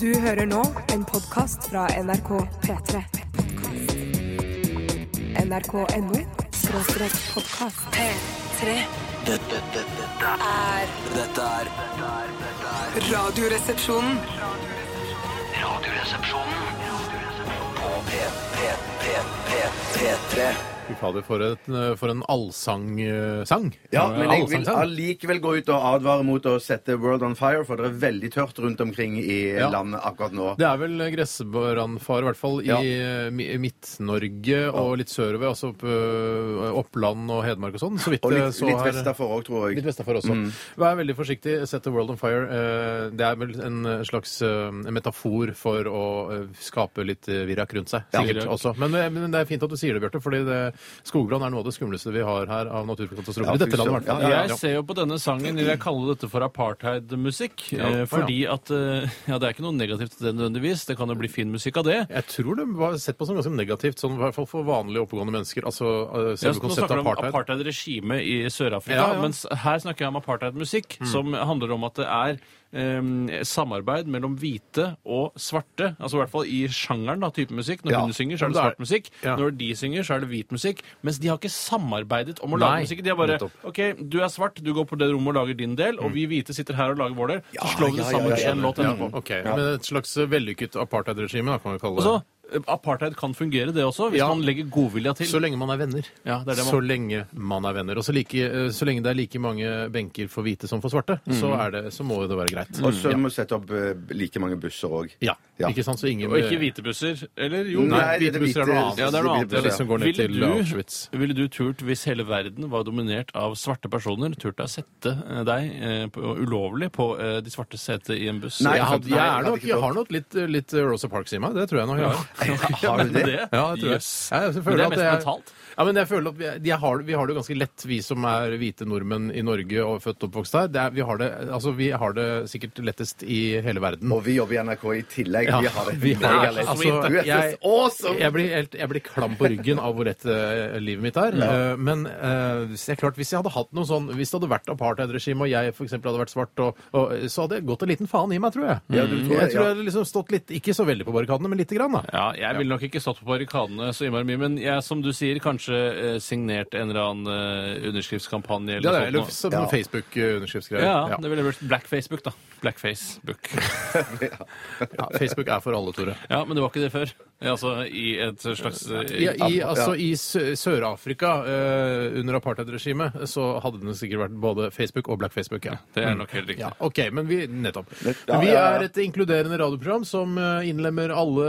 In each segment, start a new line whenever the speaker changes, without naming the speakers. Du hører nå en podkast fra NRK P3. NRK.no skråstrek podkast. P3.
Dette, dette, dette,
Er
dette er dette er- dette er
Radioresepsjonen.
Radioresepsjonen på P, P, P, P, P3.
Fy fader, for, et, for en allsangsang.
Ja, men jeg vil allikevel gå ut og advare mot å sette World on Fire, for det er veldig tørt rundt omkring i
Ja.
landet akkurat nå.
Det er vel gressbrannfare, i hvert fall
Ja.
i eh, Mi- Midt-Norge og litt sørover. Altså opp, eh, Oppland og Hedmark og sånn. Så vidt
Og
jeg
litt,
så
litt Mm.
her-
vestafor òg, tror
Litt
jeg.
vestafor også. Vær veldig forsiktig. Sett The World on Fire. eh, Det er vel en slags eh, en metafor for å eh, skape litt eh, virak rundt seg.
Ja.
Sikkert også. Men, eh, men det er fint at du sier det, Bjarte, fordi det, skogbrann er noe av det skumleste vi har her av naturkatastrofer.
Ja,
I dette landet, i hvert fall.
ja,
Ja.
Jeg ser jo på denne sangen vil jeg kalle dette for apartheidmusikk. eh, Fordi at eh, Ja, det er ikke noe negativt til det nødvendigvis. Det kan jo bli fin musikk av det.
Jeg tror det var sett på som ganske negativt, sånn, i hvert fall for vanlige oppegående mennesker. Altså eh,
Ja,
selve
nå
konseptet
snakker du om
apartheid.
apartheid-regime i Sør-Afrika,
Ja, Mm. ja.
mens her snakker jeg om apartheid-musikk, som handler om at det er eh, samarbeid mellom hvite og svarte, altså i hvert fall i sjangeren, da, type musikk. Når
Ja,
hun synger, så
om
er
det
det
er-
svart musikk.
Ja.
Når de synger, så er det hvit musikk. Mens de har ikke samarbeidet om å
Nei,
lage musikk. De har bare
nettopp. Mm.
OK, du er svart, du går på det rommet og lager din del, og vi hvite sitter her og lager vår del. Så slår
ja,
vi det
ja,
sammen
ja,
til en
skjønner.
låt etterpå.
Ok, Men et slags vellykket apartheid-regime, da, kan vi
Og
kalle
så,
det.
eh, Apartheid kan fungere, det også, hvis
Ja.
man legger godvilja til.
Så lenge man er venner.
Ja, det er det man-
Så lenge man er venner. Og så, like, eh, så lenge det er like mange benker for hvite som for svarte, så,
Mm.
er det, så må jo det være greit.
Og så må vi sette opp eh, like mange busser òg.
Ja.
Ja.
Ikke sant? Så ingen
Og ikke hvite busser. Eller jo,
Nei,
Nei, det
hvite
er
busser er
hvite-
noe annet.
Ja, det er noe
hvite
annet.
Det er de som går ned til Auschwitz.
ville du turt, hvis hele verden var dominert av svarte personer, turt deg å sette eh, deg eh, på, ulovlig på eh, de svarte sete i en buss?
Nei,
Jeg, hadde,
nei,
jeg,
jeg
er
hadde
nok,
ikke
jeg
tålt.
har nok litt, litt Rosa Parks i meg. Det tror jeg nok jeg har.
Har du det?
Ja, det tror jeg.
Yes.
jeg, jeg føler
Men det
at
er mest
jeg-
mentalt.
Ja, men jeg føler at vi, jeg har, vi har det jo ganske lett, vi som er hvite nordmenn i Norge og født og oppvokst her. Det er, vi, har det, altså, vi har det sikkert lettest i hele verden.
Og vi jobber i NRK i tillegg.
Ja,
vi har det.
vi har-
Jeg er litt-
altså,
Du er så
jeg-
awesome!
Jeg blir, helt, jeg blir klam på ryggen av hvor rett eh, livet mitt er. Eh, men eh, hvis- det er klart, hvis jeg hadde hatt noe sånn, hvis det hadde vært apartheidregime, og jeg for eksempel hadde vært svart, og, og, så hadde jeg gått en liten faen i meg, tror jeg.
Ja, du tror det,
jeg tror
ja.
jeg hadde liksom stått litt, ikke så veldig på barrikadene, men lite grann. da.
Ja, jeg ville nok ikke stått på barrikadene så innmari mye, men jeg, som du sier, kanskje eh, signert en eller annen eh, underskriftskampanje
Ja,
eller
det er, eller
noe
sånn
sånt.
Ja.
Facebook-underskriftsgreier.
Ja, ja, det ville vært Black Facebook, da. Black Facebook.
Ja, Facebook er for alle, Tore.
Ja, men det var ikke det før. Ja, altså i et slags eh,
Ja, i, altså, I Sø- Sør-Afrika, eh, under apartheidregimet, så hadde det sikkert vært både Facebook og Black Facebook. Ja.
Det er nok helt riktig.
Ja, ok, men vi, nettopp.
ja,
vi
ja, ja.
er et inkluderende radioprogram som eh, innlemmer alle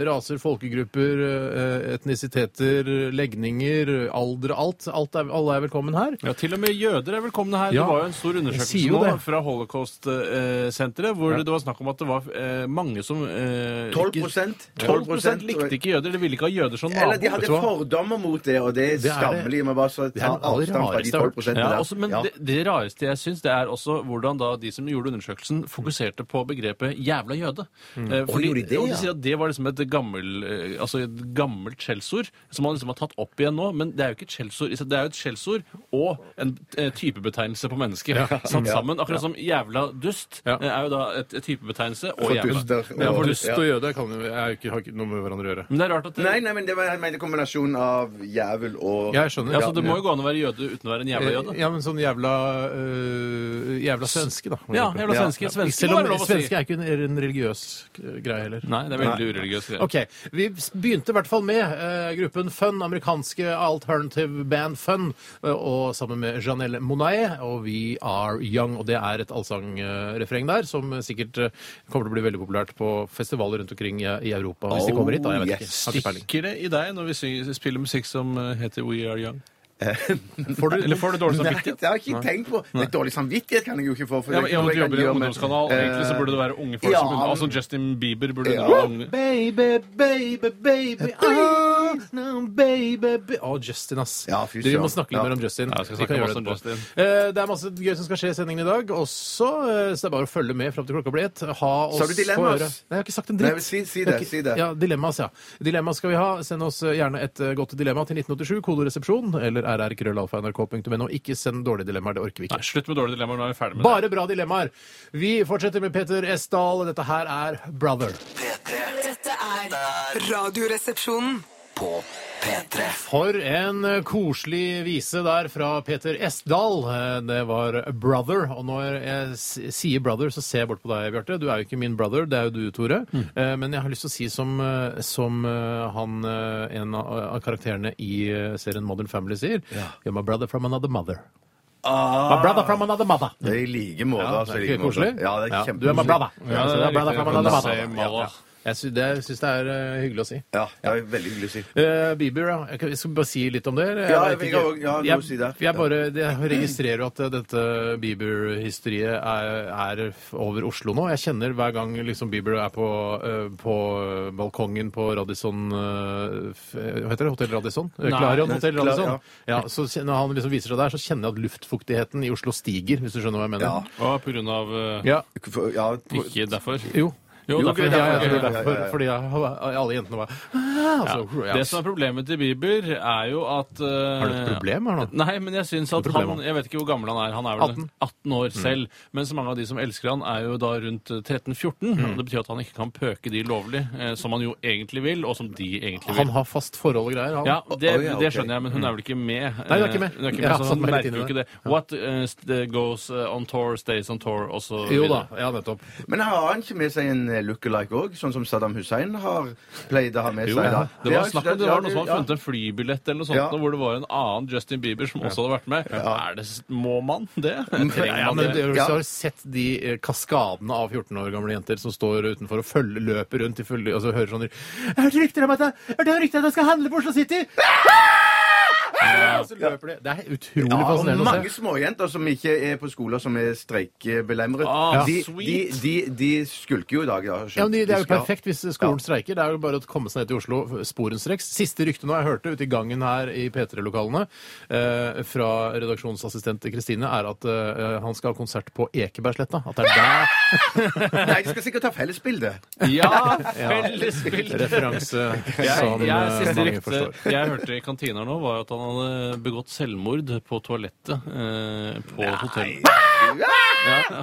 eh, raser, folkegrupper, eh, etnisiteter, legninger, alder, alt. alt er, alle er velkommen her.
Ja, Til og med jøder er velkomne her.
Ja.
Det var jo en stor
Jeg sier
undersøkelse
jo
nå
det.
fra Holocaust-senteret, hvor det var snakk om at det var eh, mange som eh,
12
ikke- 12
12
likte ikke jøder, eller ville ikke ha jøder som
Eller de
nabo.
hadde
Vet du hva?
fordommer mot det, og det er
det.
skammelig. Vi må bare så
Det er
ta
det aller
avstand fra de
rareste jeg har hørt.
12 der.
Ja, også, men
Ja.
Det, det rareste jeg syns, det er også hvordan da de som gjorde undersøkelsen, fokuserte på begrepet 'jævla jøde'. Eh, fordi,
gjorde de det,
og
ja?
de sier at det var liksom et, gammel, eh, altså et gammelt skjellsord som man liksom har tatt opp igjen nå. Men det er jo ikke et skjellsord. i seg- Det er jo et skjellsord og en eh, typebetegnelse på mennesker satt sammen. Akkurat som 'jævla dust'
Ja.
eh, er jo da et, et typebetegnelse og
For
jævla.
duster
Ja,
og-
for lyst
ja.
til å gjøre det kan jo jeg er jo ikke, har ikke noe med hverandre å gjøre.
Men det er rart at det,
Nei, nei, men det var jeg mener kombinasjonen av jævel og
Jeg skjønner.
ja, så det må jo gå an å være jøde uten å være en jævla
Eh,
jøde.
Ja, men sånn jævla øh, Jævla svenske, da. for
Ja,
eksempel.
jævla svenske. Svenske
Selv
må være
om
lov å si.
svenske er ikke en, er en religiøs eh, greie heller.
Nei, det er veldig ureligiøst. greier.
OK. Vi s- begynte i hvert fall med eh, gruppen Fun, amerikanske alternative band Fun, eh, og sammen med Janelle Monae og We Are Young. Og det er et allsangrefreng der som eh, sikkert eh, kommer til å bli veldig populært på festivaler rundt omkring i i Europa. Hvis de
Oh,
kommer hit, da. Jeg vet ikke.
yes.
Har ikke peiling.
Stikker det i deg når vi synger, spiller musikk som eh, heter We Are Young?
Får du,
Eller får du dårlig
Nei,
samvittighet?
det har jeg ikke tenkt på. Det er dårlig samvittighet kan jeg jo ikke få. For det
Ja, men
er
jeg
noe
måtte
jeg kan
jobbe i
gjøre,
en
men-
ungdomskanal.
Eh,
Egentlig så burde det være unge folk
ja,
som begynner.
men-
Altså Justin Bieber burde
Ja.
det være unge.
Baby, baby, baby, ah, no, baby, ba- Å, Justin, ass.
Ja, fy
Du, vi må
søren.
snakke litt
Ja.
mer om Justin.
Ja, jeg skal
Vi kan
snakke
gjøre
masse om
det etterpå.
Justin.
Eh, Det er masse gøy som skal skje i sendingen i dag også, eh, så det er bare å følge med fram til klokka blir ett. Ha oss
Sa du dilemmas?
på øret. Nei, jeg har ikke sagt en
Nei,
dritt.
si- si
Jeg har
det,
ikke-
si det.
Ja, dilemmas, ja. Dilemma skal vi ha. Send oss eh, gjerne et eh, godt dilemma til 1987, kodoresepsjon, eller rrkrøllalfa.nrk.no. Ikke send dårlige dilemmaer, det orker vi ikke.
Nei, slutt med dårlige dilemmaer. Nå er vi ferdig med det.
Bare bra dilemmaer. Vi fortsetter med Peter S. Dahl. Dette her er Brother.
Dette er Radioresepsjonen.
På P3
For en eh, koselig vise der fra Peter S. Dahl. Eh, Det var Brother. Og når jeg s- sier Brother, så ser jeg bort på deg, Bjarte. Du er jo ikke min brother, det er jo du, Tore. Eh, Men jeg har lyst til å si som, eh, som eh, han, eh, en av av karakterene i eh, serien Modern Family sier You're my brother from another mother.
Ah.
My brother from another mother.
Det er i like måte.
Ja, det er
altså, i like
ikke
måte.
koselig?
Ja, det er
Ja,
kjempekoselig.
Du er my brother.
Ja,
så
det er
my brother
riktig.
from another
Say
mother.
mother.
Ja, ja. Jeg sy- det- jeg syns det er eh, hyggelig å si.
Ja, det er veldig hyggelig å si.
Eh, Bieber, ja. Jeg kan- Jeg skal bare si litt om det. eller?
Ja,
vet
jeg-
ikke.
jeg- ja, du må
jeg,
si det.
Jeg, bare, jeg registrerer jo at eh, dette Bieber-hysteriet er, er f- over Oslo nå. Jeg kjenner hver gang liksom Bieber er på, eh, på eh, balkongen på Radisson eh, f- Hva heter det? Hotell Radisson? Eh,
Nei,
Clarion
nei,
Hotell
Cla-
Radisson.
ja.
ja. så kjen- Når han liksom viser seg der, så kjenner jeg at luftfuktigheten i Oslo stiger, hvis du skjønner hva jeg
Ja.
mener.
Å, på grunn av eh,
Ja.
For- Ja, på-
Ikke derfor.
Jo.
Jo,
Jo,
derfor,
gud,
ja,
Ja,
ja,
ja, det
ja,
er
ja.
derfor. Fordi jeg, alle jentene var ah, altså, ja.
Det som er problemet til Bieber, er jo at eh,
Har du et problem her nå?
Nei, men jeg syns at
Hva er problemet? Mm.
han Jeg vet ikke hvor gammel han er. Han er vel
18.
18, år selv. Mens mange av de som elsker han, er jo da rundt eh, 13-14.
Mm.
og Det betyr at han ikke kan pøke de lovlig, eh, som han jo egentlig vil, og som de
Han
egentlig vil.
har fast forhold og greier, han.
Ja, det,
Å, ja,
det
ok.
skjønner jeg, men hun er vel ikke med? eh,
Nei, hun er ikke med. sånn
Hun er
Jeg
ikke med
har
så
satt
han
meg litt
merker
inn i
jo ikke
det.
det. What eh, st- goes eh, on tour, stays on tour, og så
Jo da.
videre.
Ja, nettopp.
Men har han ikke med seg en eh, look-alike òg, sånn som Saddam Hussein har pleide å ha med
Jo,
seg? da?
det var snakk om det var noen som hadde funnet en flybillett eller noe sånt,
Ja.
nå, hvor det var en annen Justin Bieber som også hadde vært med. Er det, s- må man det? Trenger
Mm, Ja,
man
men
det?
du hvis du
Ja.
har sett de eh, kaskadene av 14 år gamle jenter som står utenfor og følger, løper rundt i fulle, og så hører sånn Jeg hørte rykter om at jeg, jeg, hørte rykter om at jeg skal handle på Oslo City! Ja, og så løper de. Det er utrolig
Ja, og
fascinerende å
mange
se.
småjenter som ikke er på skoler som er streikebelemret.
Ah,
de, de,
sweet.
de, de skulker jo i dag. da, skjønt.
Ja, men det- det er jo
skal-
perfekt hvis skolen streiker. Det er jo bare å komme seg ned til Oslo sporenstreks. Siste rykte nå jeg hørte ute i gangen her i P3-lokalene eh, fra redaksjonsassistent Kristine, er at eh, han skal ha konsert på Ekebergsletta. At det er der
Nei, de skal sikkert ta fellesbilde.
Ja, fellesspill!
referanse som
Jeg, jeg,
eh,
siste
mange
rykte
forstår.
jeg hørte i kantina nå, var at han hadde begått selvmord på toalettet eh, på et hotell. Ja,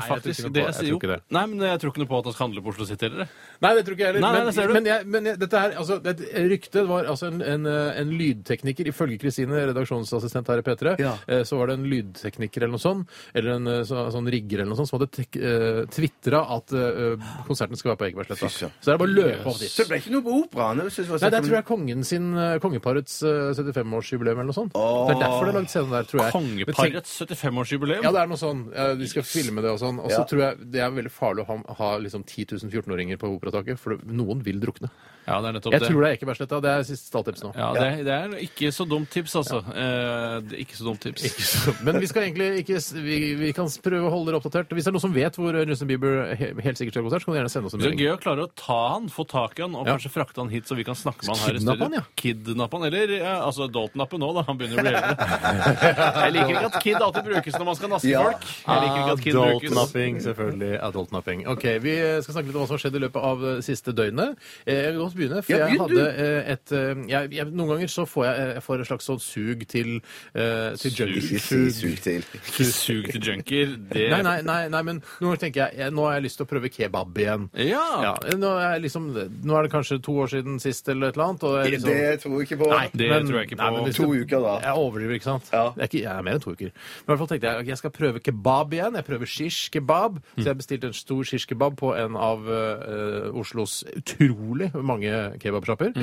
noe
faktisk.
på-
det,
jeg tror
jo.
ikke det.
Nei, men jeg tror ikke noe på at han skal handle på Oslo City heller.
Nei, det tror ikke jeg heller.
Nei, nei,
men,
det ser du.
men, jeg, men jeg, dette her, altså, det ryktet var altså en, en, eh, en lydtekniker, ifølge Kristine, redaksjonsassistent her i P3,
Ja.
eh, så var det en lydtekniker eller noe sånt, eller en eh, så, sånn rigger eller noe sånt, som hadde tek- eh, tvitra at eh, konserten skal være på Ekebergsletta.
Fy søren.
Så det er bare å løpe opp dit.
Så det ble ikke noe på operaen. det synes jeg var sånn
Nei, det
sett
tror
som-
jeg er kongen sin, eh, kongeparets eh, 75-årsjubileum eller noe sånt. Det er derfor det er lagd scene der, tror jeg. Men tenk-
Kongeparets 75-årsjubileum.
Ja, det er noe sånn. eh, De skal filme det og sånn. Og så
Ja.
tror jeg det er veldig farlig å ha, ha liksom 10 000 14-åringer på operataket, for det- noen vil drukne.
Ja, det er nettopp
Jeg
det.
tror det er Ekebergsletta. Det er siste stalltips nå.
Ja, det, er- det er ikke så dumt tips, altså. Eh, det er ikke så dumt tips.
Men vi skal egentlig ikke s- vi, vi kan s- prøve å holde dere oppdatert. Hvis det er noen som vet hvor Justin Bieber he, helt sikkert skal ha konsert, så kan du gjerne sende oss en
Det er
melding.
gøy å klare å ta han, få tak i han, og
Ja.
kanskje frakte han hit, så vi kan snakke med han her i
Kidnappe
studio.
han, ja.
Kidnappe han, eller ja, altså adultnappe nå, da. Han begynner å bli eldre. Jeg liker ikke at kid alltid brukes når man skal naske
Ja.
folk. Jeg liker ikke at kid brukes.
selvfølgelig. Adultnapping. Ok, Vi eh, skal snakke litt om hva som har skjedd i løpet av eh, siste døgnet. Eh, Jeg vil godt begynne. For
Ja,
jeg
begynn du.
hadde eh, et eh, jeg, jeg, Noen ganger så får jeg, eh, jeg får et slags sånn sug til, eh, til junkie.
Ikke si sug til.
Sug til junkier. Det
Nei, nei, nei, nei, men noen ganger tenker jeg, jeg nå har jeg lyst til å prøve kebab igjen.
Ja.
Ja, nå, er jeg liksom, nå er det kanskje to år siden sist eller et eller annet. Og jeg liksom,
Det tror jeg ikke på.
Nei, det
Men-
tror jeg ikke
nei,
på.
men hvis
To
du-
uker, da.
Jeg overdriver, ikke sant?
Ja.
Jeg, er ikke, jeg er mer enn to uker. Men i hvert fall tenkte jeg ok, jeg skal prøve kebab igjen. Jeg prøver shish kebab. Så jeg bestilte en stor shish kebab på en av eh, Oslos utrolig mange kebabsjapper.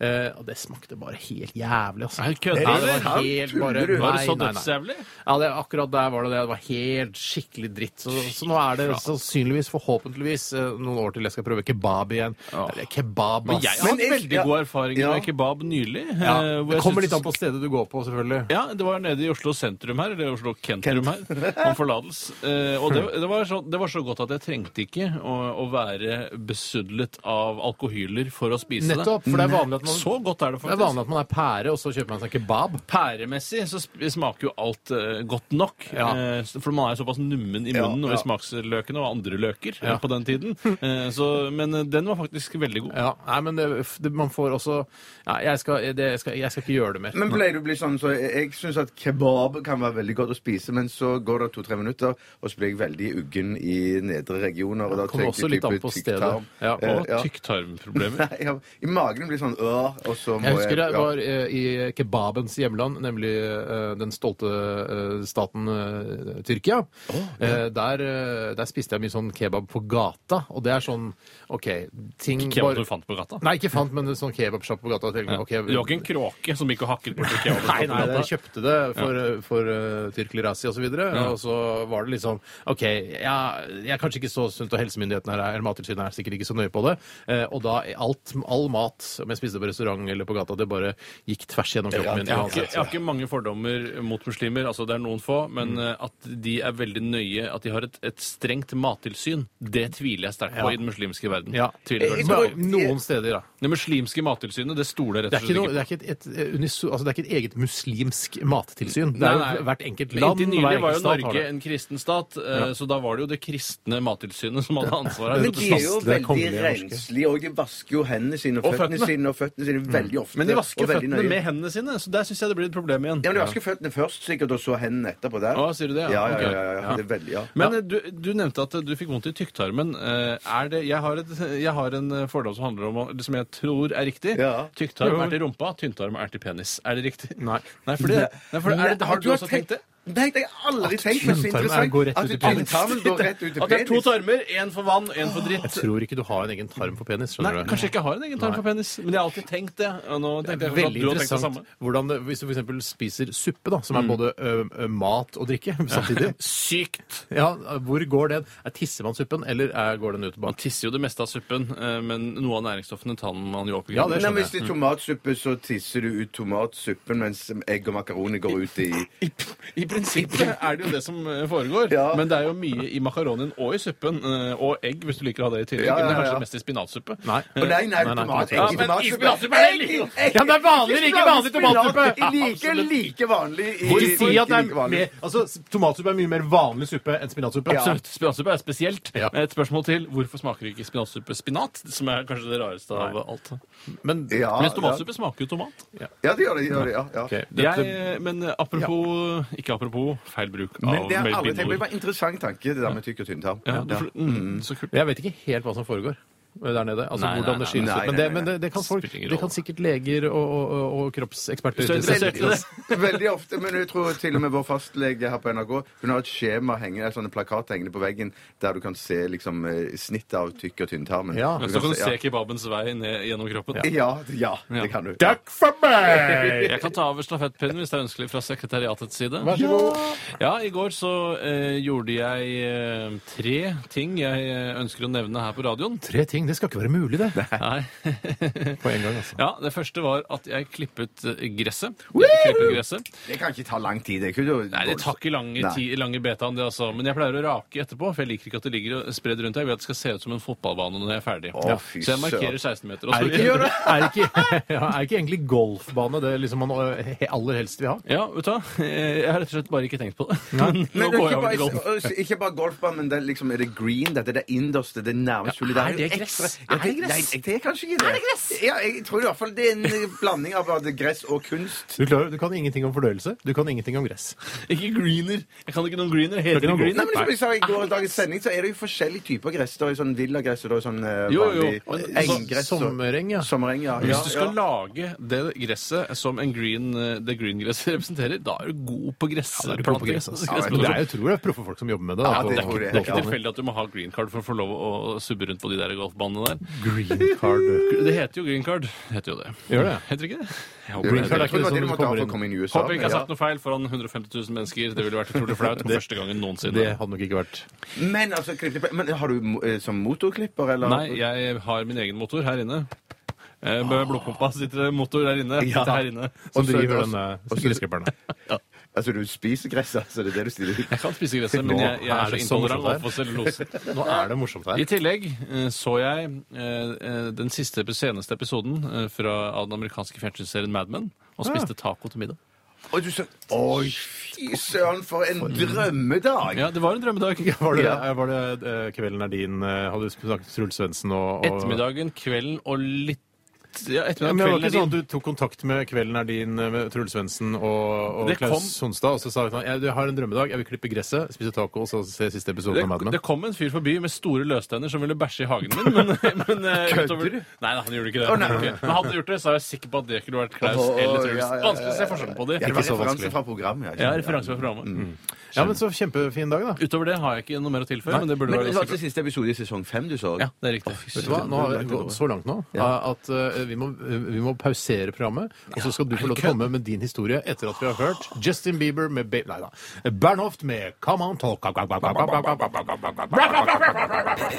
Eh, og det smakte bare helt jævlig, altså.
Nei, kødder
det
du?
var helt bare
Tuller du?
Var det
Nei,
sånn så
nei, nei.
dødsjævlig?
Ja, det, akkurat der var det det. Det var helt skikkelig dritt. Så, så nå er det
altså.
sannsynligvis, forhåpentligvis, eh, noen år til jeg skal prøve kebab igjen. Eller kebab,
Men jeg har
Men
hatt
jeg-
veldig
ja.
god erfaring
Ja.
med kebab nylig.
Ja,
eh, hvor
det
jeg
kommer
synes-
litt an på stedet du går på, selvfølgelig.
Ja, det var nede i Oslo sentrum her, eller Oslo kentrum her, om forlatelse. Eh, og det, det, var så, det var så godt at jeg trengte ikke å, å være besudlet av alkohyler for å spise
Nettopp, for det er vanlig at
det.
man,
Så godt er det
det er
faktisk.
vanlig at man er pære, og så kjøper man seg kebab.
Pæremessig så sp- smaker jo alt eh, godt nok.
Ja.
eh, for man er såpass nummen i
Ja,
munnen over
ja.
smaksløkene og andre løker eh,
Ja.
på den tiden. Eh, så, men eh, den var faktisk veldig god.
Ja, nei, men det, det, man får også ja, jeg, skal, det, jeg, skal, jeg skal ikke gjøre det mer.
Men pleier du å bli sånn, så jeg, jeg syns at kebab kan være veldig godt å spise, men så går det to-tre minutter, og så blir jeg veldig uggen i nedre regioner. Og da
Kommer
tenker
også litt
type
an på stedet.
tykktarm.
Ja,
Og
Eh, ja.
tykktarmproblemer.
Nei, ja, I magen blir sånn øh, og så må
Jeg husker det
ja.
var eh, i kebabens hjemland, nemlig eh, den stolte eh, staten eh, Tyrkia. Eh, der, eh, der spiste jeg mye sånn kebab på gata, og det er sånn OK ting
Kebab du fant på gata?
Nei, ikke fant, men en sånn kebabsjappe på gata. og tenkte, ok,
Du var ikke en kråke som gikk og hakket bort til kebaben?
Nei, nei, jeg kjøpte det for, for eh, Tyrkli Razi og så videre, og så var det liksom OK, ja, jeg er kanskje ikke så sunt, og helsemyndighetene her er- eller Mattilsynet er sikkert ikke så nøye på det, eh, og da alt, all mat som jeg spiste på restaurant eller på gata, det bare gikk tvers gjennom kroppen min.
Jeg har, ikke,
uansett.
jeg har ikke mange fordommer mot muslimer, altså det er noen få,
Mm.
men eh, at de er veldig nøye, at de har et, et strengt mattilsyn, det tviler jeg sterkt på i den muslimske verden.
Ja. Eh,
Tviler jeg
Men
veldig sterkt på.
Noen steder, da.
Det muslimske mattilsynet, det stoler jeg
Det er
rett og
ikke,
slett
noe,
ikke på.
det er ikke, et, et, eh, uniso, altså det er ikke et eget muslimsk mattilsyn. Det
Nei,
er
nei.
jo hvert enkelt
Men
land.
Inntil
hver
nylig var
enkelt
jo
stat har
Norge
det.
en kristen stat, eh, så da var det jo det kristne mattilsynet som hadde ansvaret.
Men de er jo
Det er
veldig
kongelige norske.
renslige, og de vasker jo hendene sine og
Og
føttene
føttene.
sine og føttene sine veldig ofte.
Men de vasker
og veldig
føttene
nøye.
med hendene sine, så der syns jeg det blir et problem igjen.
Ja, men de vasker føttene først, sikkert, og så hendene etterpå der.
Å, sier du det?
Ja,
Ja,
ja,
ok.
ja. ja, ja. Det er veldig, ja.
Men eh, du, du nevnte at eh, du fikk vondt i tykktarmen. Eh, Er det, jeg, har et, jeg har en eh, fordom som handler om å- som jeg tror er riktig.
Ja.
Tykktarm
Jo.
er til rumpa, tynntarm er til penis. Er det riktig?
Nei.
Nei, for det, nei, for det, er det, har du også tenkt det?
Nei, det har jeg aldri tenkt. Men så
tynntarmen
interessant
går rett
at
ut i penis.
tynntarmen går rett ut i
At det er to
penis.
tarmer, én for vann, én for dritt.
Jeg tror ikke du har en egen tarm for penis.
Nei,
skjønner du?
kanskje jeg ikke har en egen tarm for penis, men jeg har alltid tenkt det. Og nå tenkte jeg at
Veldig
du har tenkt det samme.
interessant hvordan det, Hvis du f.eks. spiser suppe, da, som er både ø, ø, mat og drikke samtidig
Sykt!
ja, Hvor går den? Er Tisser man suppen, eller er, går den ut
Man
bak?
tisser jo det meste av suppen, eh, men noe av næringsstoffene tar man jo opp i
Ja, det
Nei,
skjønner
men Hvis det er tomatsuppe, så tisser du ut tomatsuppen, mens egg og makaroni går ut i
I, I prinsippet er det jo det som eh, foregår,
Ja.
men det er jo mye i makaronien og i suppen, eh, og egg, hvis du liker å ha det i tillegg.
Ja, ja,
Men det er
ja.
kanskje mest i spinatsuppe. Eh,
Nei.
Å nei, nei,
Nei, nei,
tomat,
tomatsuppe.
egg
Ja,
i
men
tomatsuppe. Egg i- egg i-
i spinatsuppe er det like-
Ja, men det er vanlig,
Ikke
ikke vanlig tomatsuppe.
I like, like vanlig i
Ikke si
ikke
at det
like
er
vanlig.
mer, altså, Tomatsuppe er mye mer vanlig suppe enn spinatsuppe.
Absolutt. Spinatsuppe er spesielt.
Ja.
Et spørsmål til. Hvorfor smaker ikke spinatsuppe spinat? Som er kanskje det rareste av alt.
Men
Ja,
Mens tomatsuppe smaker jo tomat.
Ja, ja, det gjør det. gjør det ja, ja.
ok, dette,
Jeg, men eh, apropos Ikke apropos, feil bruk av
Men det er aldri tenkt på. Det
melbindord.
var en interessant tanke, det der med tykk og tynn tarm.
Ja, du, mm, så kult.
Jeg vet ikke helt hva som foregår der nede. altså
Nei, nei,
hvordan det
nei,
skilles
nei,
ut. Men,
nei,
det,
nei,
men det, det, kan folk,
Spiller ingen
det
rolle.
kan sikkert leger og, og, og- og kroppseksperter
Så interessert i det.
Veldig ofte, men jeg tror til og med vår fastlege her på NRK Hun har et skjema hengende, eller sånne plakat hengende på veggen der du kan se liksom eh, snittet av tykk- og tynntarmen.
Ja.
Men Så kan du se kebabens vei ned gjennom kroppen.
ja. Ja, ja, det kan du.
Takk for meg!
Jeg kan ta over stafettpinnen hvis det er ønskelig fra sekretariatets side.
Vær så god.
Ja, i går så eh, gjorde jeg eh, tre ting jeg eh, ønsker å nevne her på radioen.
Tre ting. Det skal ikke være mulig, det.
Nei.
På en gang, altså.
Ja, Det første var at jeg klippet eh, gresset. Jeg klippet gresset.
Det kan ikke ta lang tid. Det, kunne,
Nei, det tar ikke lange,
Nei.
ti, lange betaen, det altså. Men jeg pleier å rake etterpå, for jeg liker ikke at det ligger og spredt rundt. Jeg vil at det skal se ut som en fotballbane når jeg er ferdig.
Å,
Ja.
fy
Så jeg markerer 16 meter. Og så
Er ikke, er ikke, ja, er ikke egentlig golfbane det liksom man ø, he- aller helst vil ha?
Ja, vet du hva? Eh, Jeg har rett og slett bare ikke tenkt på det. Men
Men
nå
det er
går jeg
ikke,
over til golf.
bare, og- ikke bare golfbanen, men det er, liksom, er det green? Dette er det innerste, det nærmeste hullet.
er
jo
det
ekstra-
gress?
Ja,
Er det gress?
Nei, jeg- det er kanskje ikke det. Er det gress? Ja, jeg tror i hvert fall det er en eh, blanding av både gress og kunst.
Du, klarer, du kan ingenting om fordøyelse. Du kan ingenting om gress.
Ikke greener. Jeg kan ikke noen greener. Heter det
noen
greener?
Nei, men liksom, som jeg sa i
Ah,
går i dagens sending, så er det jo forskjellige typer gress. Det er jo sånn villagress, og det er jo sånn eh,
Jo, jo, jo.
vanlig
Og- så- eh,
enggress. og-
Sommereng, ja.
Sommereng, ja.
Hvis du
ja,
skal
ja.
lage det gresset som en green, eh, det green-gresset representerer, da er du god på
Ja, det er på
gressplanting.
gress, altså.
Gressproduksjon.
Det er jo, tror jeg, proffe folk som jobber med det. da,
Ja,
på-
det tror jeg.
Det er ikke
Ja.
tilfeldig at du må ha green card for å få lov å subbe rundt på de der golfbanene der.
Green card.
Det heter jo green card. Det heter jo det.
Gjør det?
Heter det ikke det? Jeg håper,
Green
det
card
heter
er
det.
ikke
som
det var det du
du
måtte ha
kommer
for
inn.
å komme inn i USA.
håper jeg ikke
men
har
ja.
sagt noe feil foran 150 000 mennesker. Det ville vært utrolig flaut for første gangen
Det
noensinne.
hadde nok ikke vært
Men altså, klipp- men har du mo- eh, som motorklipper, eller?
Nei, jeg har min egen motor her inne. Eh, Med blodpumpa sitter det motor der inne.
Ja.
Sitter her inne.
Som
så-
driver eh,
og-
denne
og så-
gressklipperen.
Altså, du spiser gress, altså. Det er det du stiller ut.
Jeg kan spise gresset, men
Nå
jeg, jeg
er
er så
det så
intolerant
morsomt her.
overfor cellulose.
Nå er det morsomt her.
I tillegg eh, så jeg eh, eh, den siste, seneste episoden eh, fra av den amerikanske fjernsynsserien Mad Men, og spiste taco til middag.
Og du sa Oi, fy søren, for en drømmedag!
Ja, det var en drømmedag.
Var det,
Ja.
var det eh, Kvelden er din eh, Hadde du snakket med Truls Svendsen og, og
Ettermiddagen, kvelden og litt Ja,
Ja, men det var
ettermiddag,
ikke sånn at
kvelden.
du tok kontakt med Kvelden er din eh, med Truls Svendsen og, og
Det kom-
Klaus Sonstad, og så sa han at jeg har en drømmedag, jeg vil klippe gresset, spise taco og så se siste episode av Mad
Det,
Men.
det kom en fyr forbi med store løstenner som ville bæsje i hagen min. Men, men eh,
Kødder
utover,
du?
nei, nei, han gjorde ikke det.
Å, nei.
Han gjorde ikke det. Men hadde han gjort det, så er jeg sikker på at det kunne vært Klaus
Å,
eller
ja,
Truls.
ja, ja, ja, ja.
Vanskelig å se forskjellen på
Ja, det
dem.
var
så
referanse
vanskelig.
fra programmet.
Ja, referanse fra programmet.
Ja, men så kjempefin dag, da.
Utover det har jeg ikke noe mer å tilføye. Men det burde
Men
være
det var til
ganske bra.
siste episode i sesong fem du så?
Ja, det er riktig.
Vet du hva? Nå har vi gått så langt nå at eh, vi, må, vi må pausere programmet. Og så skal du få lov til å komme med din historie etter at vi har hørt Justin Bieber med ba Nei da. Bernhoft med Come On Talk.
P3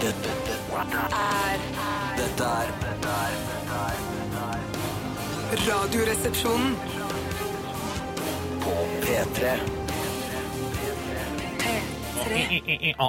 Dette Dette er Dette er
Radioresepsjonen.
På P3
P3.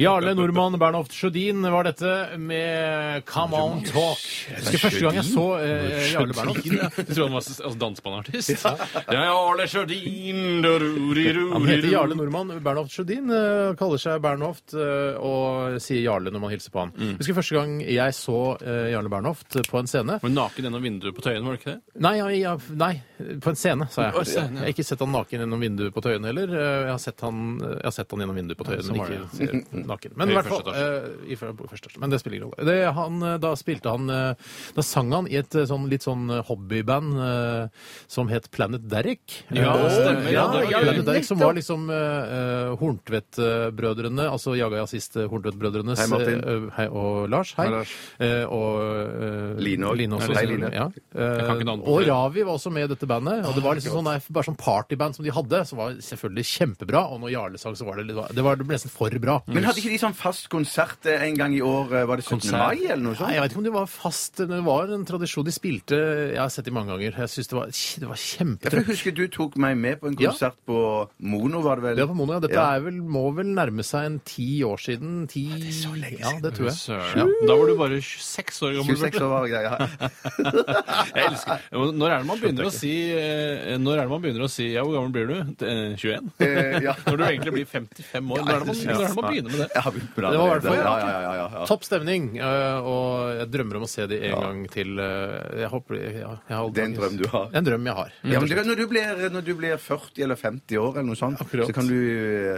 Jarle Nordmann, Bernhoft Sjødin var dette med Come On Talk. Jeg husker første gang jeg så eh, Jarle Bernhoft.
Ja, Du tror han var altså, dansbandartist? Ja, ja, Arle Sjødin da, ru, ri, ru,
Han
ri,
heter
ru.
Jarle Nordmann. Bernhoft Sjødin eh, kaller seg Bernhoft eh, og sier Jarle når man hilser på han. Husker første gang jeg så eh, Jarle Bernhoft på en scene.
Var naken gjennom vinduet på Tøyen, var det ikke det?
Nei, ja, ja, nei, på en scene, sa jeg.
På en scene, ja.
Jeg har ikke sett han naken gjennom vinduet på Tøyen heller. Eh, Jeg har sett han, jeg har sett han gjennom vinduet på Tøyen,
sånn var
men ikke ser naken. Men
I
i hvert fall,
første
eh, i fir- på første etasje. Men det spiller ingen rolle. Det, han, eh, da spilte han eh, Da sang han i et eh, sånn, litt sånn eh, hobbyband eh, som het Planet Derrick.
Ja,
Eh,
stemmer,
Ja,
ja, det var
ja,
gøy.
Planet Derrick, som var liksom eh, eh, Horntvedt-brødrene, altså Jaga Jazzist eh, Horntvedt-brødrenes
Hei, Martin.
eh, hei, og Lars. Hei.
Hei, Lars.
Eh, og eh,
Line også.
Line også.
Hei, Line.
Ja.
Jeg kan ikke navnet på
og
flere.
Ravi var også med i dette bandet. Og det var liksom sånn, nei, bare sånn partyband som de hadde, som var selvfølgelig kjempebra. Og når Jarle sang, så var det, litt- det var det ble nesten for bra.
Men hadde ikke de sånn fast konsert eh, en gang i år? eh, Var det 17.
Konsert?
mai, eller noe
Nei,
sånt?
jeg vet ikke om det var fast, men det var en tradisjon de spilte Jeg har sett de mange ganger. Jeg syns det var, det var
Ja, for jeg
kjempetrøtt.
husker du tok meg med på en
Ja.
konsert på Mono, var det vel?
Det var på Mono, ja. Dette
Ja.
er vel, må vel nærme seg en ti år siden. Ti... Ja, det er så lenge siden. Ja, det tror jeg.
Søren. Ja. Da var du bare 26 år gammel.
26 år var jeg, ja.
Jeg elsker. Når er det man begynner å si eh, Når er det man begynner å si Ja, hvor gammel blir du? Eh, 21?
Eh, ja.
Når du egentlig blir 55 år. Når er det man, når er det man begynner med det?
Jeg har begynt med
Det var i hvert fall-
allerede. ja, ja, ja, ja, ja.
Topp stemning, eh, og jeg drømmer om å se de en gang til. eh, Jeg håper, ja, jeg har
Det er en drøm du har.
En drøm jeg har.
Ja, men du kan, når, du blir, når du blir 40 eller 50 år, eller noe sånt,
Akkurat.
så kan du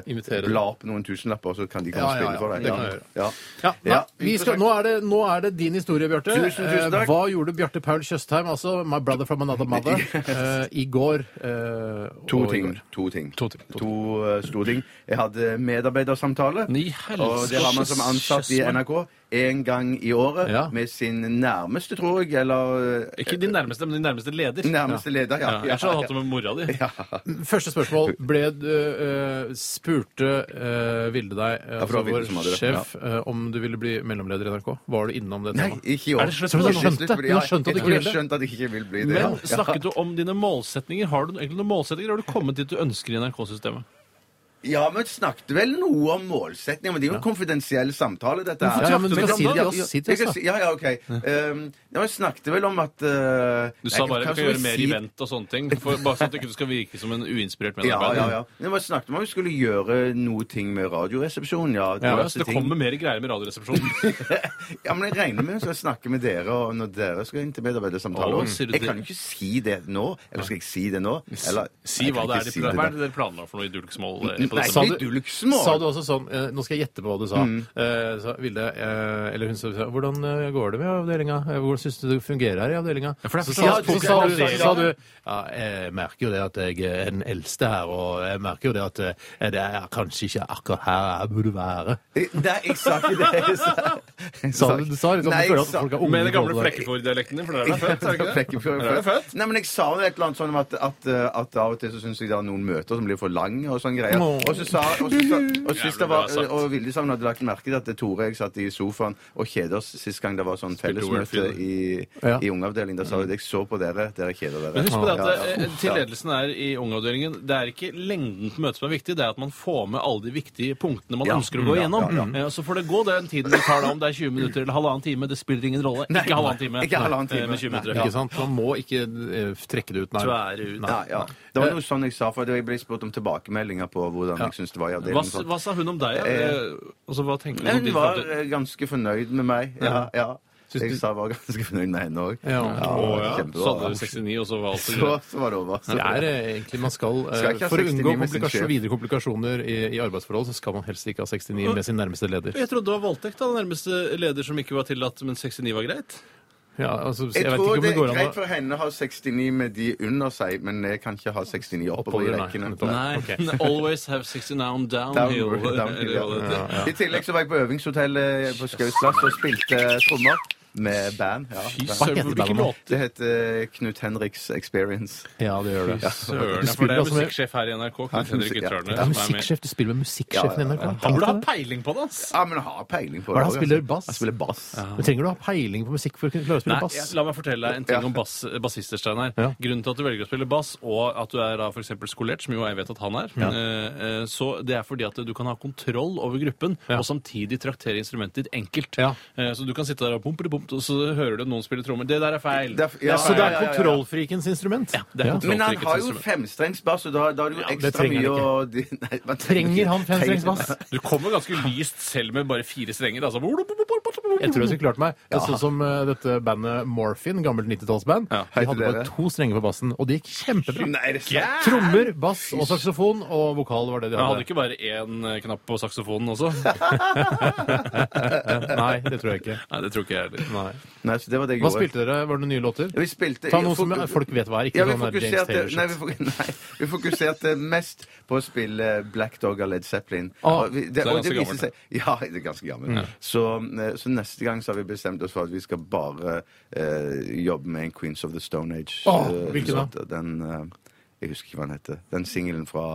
Invitere
eh,
dem.
bla opp noen tusenlapper, så kan de komme
Ja,
og
ja,
spille
ja,
for deg.
det kan jeg gjøre.
Ja.
Ja, nei,
Ja.
vi skal, nå, er det, nå er det din historie, Bjarte.
Tusen, tusen takk.
Eh, Hva gjorde Bjarte Paul Tjøstheim, altså My Brother from Another Mother, eh, i går? eh,
To
og i
ting.
går?
To ting.
To ting, to
To eh, store ting. Jeg hadde medarbeidersamtale.
Nei, helsike.
Og det har man som ansatt i NRK én gang i året
Ja.
med sin nærmeste, tror jeg, eller eh,
Ikke din nærmeste, men din nærmeste leder.
nærmeste leder.
Ja,
Ja.
jeg har hatt det med mora di.
Første spørsmål. Ble, du, eh, spurte eh, Vilde deg, eh,
for det var
altså
Vilde som hadde
vår
det.
sjef, eh, om du ville bli mellomleder i NRK? Var du innom det
Nei,
temaet?
ikke i år.
Er det slutt
Jeg
på det?
tror er slutt på det,
Du har
ja.
skjønt at
Jeg
du
tror
ikke
jeg
vil det?
har skjønt at jeg ikke vil bli det.
Men
ja.
snakket du om dine målsetninger? Har du egentlig noen målsetninger? Har du kommet dit du ønsker i NRK-systemet?
Ja, men snakket vel noe om målsetninger, men det er jo en konfidensiell samtale, dette her.
Ja, ja, men du
Men-
kan si det til oss.
ja,
Si det til oss,
jeg kan si- Ja, ja, ok. Um, ja, men snakket vel om at uh,
Du sa bare at du kan gjøre mer event og sånne ting. For, bare sånn at du ikke skal virke som en uinspirert
Ja,
medarbeider.
ja, ja. Men vi snakket om at vi skulle gjøre noe ting med Radioresepsjonen, ja.
Ja,
diverse
så det
ting.
kommer mer greier med Radioresepsjonen.
ja, men jeg regner med å snakke med dere og når dere skal inn til medarbeidersamtale.
Å,
også.
sier du
jeg
det?
kan jo ikke si det nå. Eller skal jeg si det nå? Eller,
Si
jeg
hva
kan
det
ikke
er de
si
pla- hva
da.
er det dere planla for noe eh, i Dulksmål?
Nei,
Sa
ikke
du-
dulksmål.
Sa du også sånn eh, Nå skal jeg gjette på hva du sa.
Mm.
Eh, så Vilde, eh, eller hun sa Hvordan eh, går det med avdelinga? Eh, Hvordan syns du det fungerer her i avdelinga?
for det
Så,
er for
sa-
sånn-
så, sa du-
Ja,
så sa du Ja, jeg merker jo det at jeg er den eldste her, og jeg merker jo det at eh, det er kanskje ikke akkurat her jeg burde være.
Nei, jeg sa ikke det. Jeg sa, jeg
Sa du du sa liksom
Nei,
du føler
jeg
at
sa-
folk er unge?
Med den gamle
i forhold til deg.
Flekkefjord-dialekten din, for der er du født, er du ikke det?
Flekkefjord.
Der er du født.
eh, Nei, men jeg sa jo et eller annet sånn om at, at, at av og til så syns jeg det er noen møter som blir for lange og sånn greier.
Åh.
Og så sa og så sa- og sist det var, og Vilde sammen hadde lagt merke til at Tore og jeg satt i sofaen og kjeda oss sist gang det var sånn fellesmøte
Warfield.
i,
Ja.
i ungeavdelingen. Da sa hun jeg så på dere, dere kjeder dere.
Men husk på det
Ja,
at
ja.
eh, til ledelsen er i ungeavdelingen Det er ikke lengden på møtet som er viktig, det er at man får med alle de viktige punktene man
Ja. Mm,
ønsker å gå
Ja,
igjennom.
ja,
Eh, Så får det gå den tiden det tar, da, om det er 20 minutter eller halvannen time. Det spiller ingen rolle.
Nei,
ikke halvannen time.
ikke halvannen
Nei, eh,
time.
Med 20 minutter.
Ikke sant? Man må ikke eh, trekke det ut, nei.
Tvære ut.
Ja, ja. Det var noe sånn jeg sa, for jeg ble spurt om tilbakemeldinger på hvordan jeg syntes det var i
Hva,
avdelingen.
hva sa hun om deg? eh, Altså, hva tenker du
Nei,
om
Hun
din
var
fremtid?
eh, ganske fornøyd med meg. Ja, ja.
Syns
Jeg
du-
sa jeg var ganske fornøyd med henne òg.
Ja.
Å, ja. Så hadde
Kjempebra.
du 69, og så var alt så
Så,
greit.
så var det over. Så-
Det er eh, egentlig man skal, eh,
Skal ikke ha
For å
69
unngå
med sin
komplikasjon-
sjef.
videre komplikasjoner i, i arbeidsforhold, så skal man helst ikke ha 69 med sin nærmeste leder.
Jeg trodde det var voldtekt av den nærmeste leder som ikke var tillatt, men 69 var greit.
Ja, altså, så
Jeg,
jeg vet
tror
ikke om
det
det
er
går an
greit
å
for henne å ha 69 med de under seg, men jeg kan ikke ha 69 oppover i
Oppover, nei.
rekkene.
Nettopp.
Nei.
Nei. Always have 69 downhill.
Downward, downhill,
eller hva det heter.
ja. I tillegg så var jeg på øvingshotellet på Skaus plass og spilte trommer med band. Ja.
Fy
band.
søren,
heter
hvilken
bandet nå?
låt?
Det heter eh, Knut Henriks Experience.
Ja, det gjør det. Du
Søren, ja, for det
spiller
er
altså med-
musikksjef her i NRK.
Ja,
Knut Henrik
musikk- ja.
Ytrarne.
Det er musikksjef, Du spiller med musikksjefen i
Ja, ja,
NRK.
ja.
Han burde ha peiling på det, ass!
Ja, men jeg har peiling på
Hva er det han
også,
spiller?
altså.
Bass?
Han spiller bass.
Men Trenger du å ha peiling på musikk for å kunne klare å
Nei,
spille
jeg-
bass?
la meg fortelle deg en ting
Ja.
om bass, bassister, Steinar.
Ja.
Grunnen til at du velger å spille bass, og at du er da for eksempel skolert, som jo jeg vet at han er, eh, eh, så det er fordi at du kan ha kontroll over gruppen,
Ja.
og samtidig traktere instrumentet ditt enkelt.
Ja.
Eh, Så du kan sitte der og pumpe, pumpe, og så hører du noen spille trommer. Det der er feil!
Det er-
Ja, så det
ja,
er
ja, ja, ja.
kontrollfrikens instrument?
Ja, det er kontroll-
Men han
Ikke
har
så
jo
mye.
femstrengsbass, og da, da er det jo ekstra
trenger
mye
han
å Nei, man
Trenger
ikke-
han femstrengsbass?
Du kommer ganske lyst selv med bare fire strenger. Altså.
Jeg tror jeg skulle klart meg. Det er Sånn som eh, dette bandet Morphin, gammelt 90-tallsband.
Ja,
de
heter
hadde bare
dere?
to strenger på bassen, og det gikk kjempebra.
Nei, det er sant.
Trommer, bass og saksofon og vokal var det de
Jeg hadde
hadde.
ikke bare én eh, knapp på saksofonen også.
Nei, det tror jeg ikke.
Nei, det tror ikke jeg heller.
Nei.
Nei, så det var det jeg
Hva
gjorde.
spilte dere? Var det noen nye låter?
Ja, Vi spilte
Ta noe som
fok-
folk vet hva er, ikke
ja, vi
sånn der James
fokuserte-
Taylor-shit.
nei, vi fok- nei, vi fokuserte mest på å spille Black Dog av Led Zeppelin.
Ah,
Og vi-
så det er
og
ganske
viste
gammelt.
seg- Ja, det er ganske gammelt.
Mm.
Så, eh, så neste gang så har vi bestemt oss for at vi skal bare eh, jobbe med en Queens of the Stone Age.
Åh,
eh,
hvilken
låt. Den eh, Jeg husker ikke hva den heter. Den singelen fra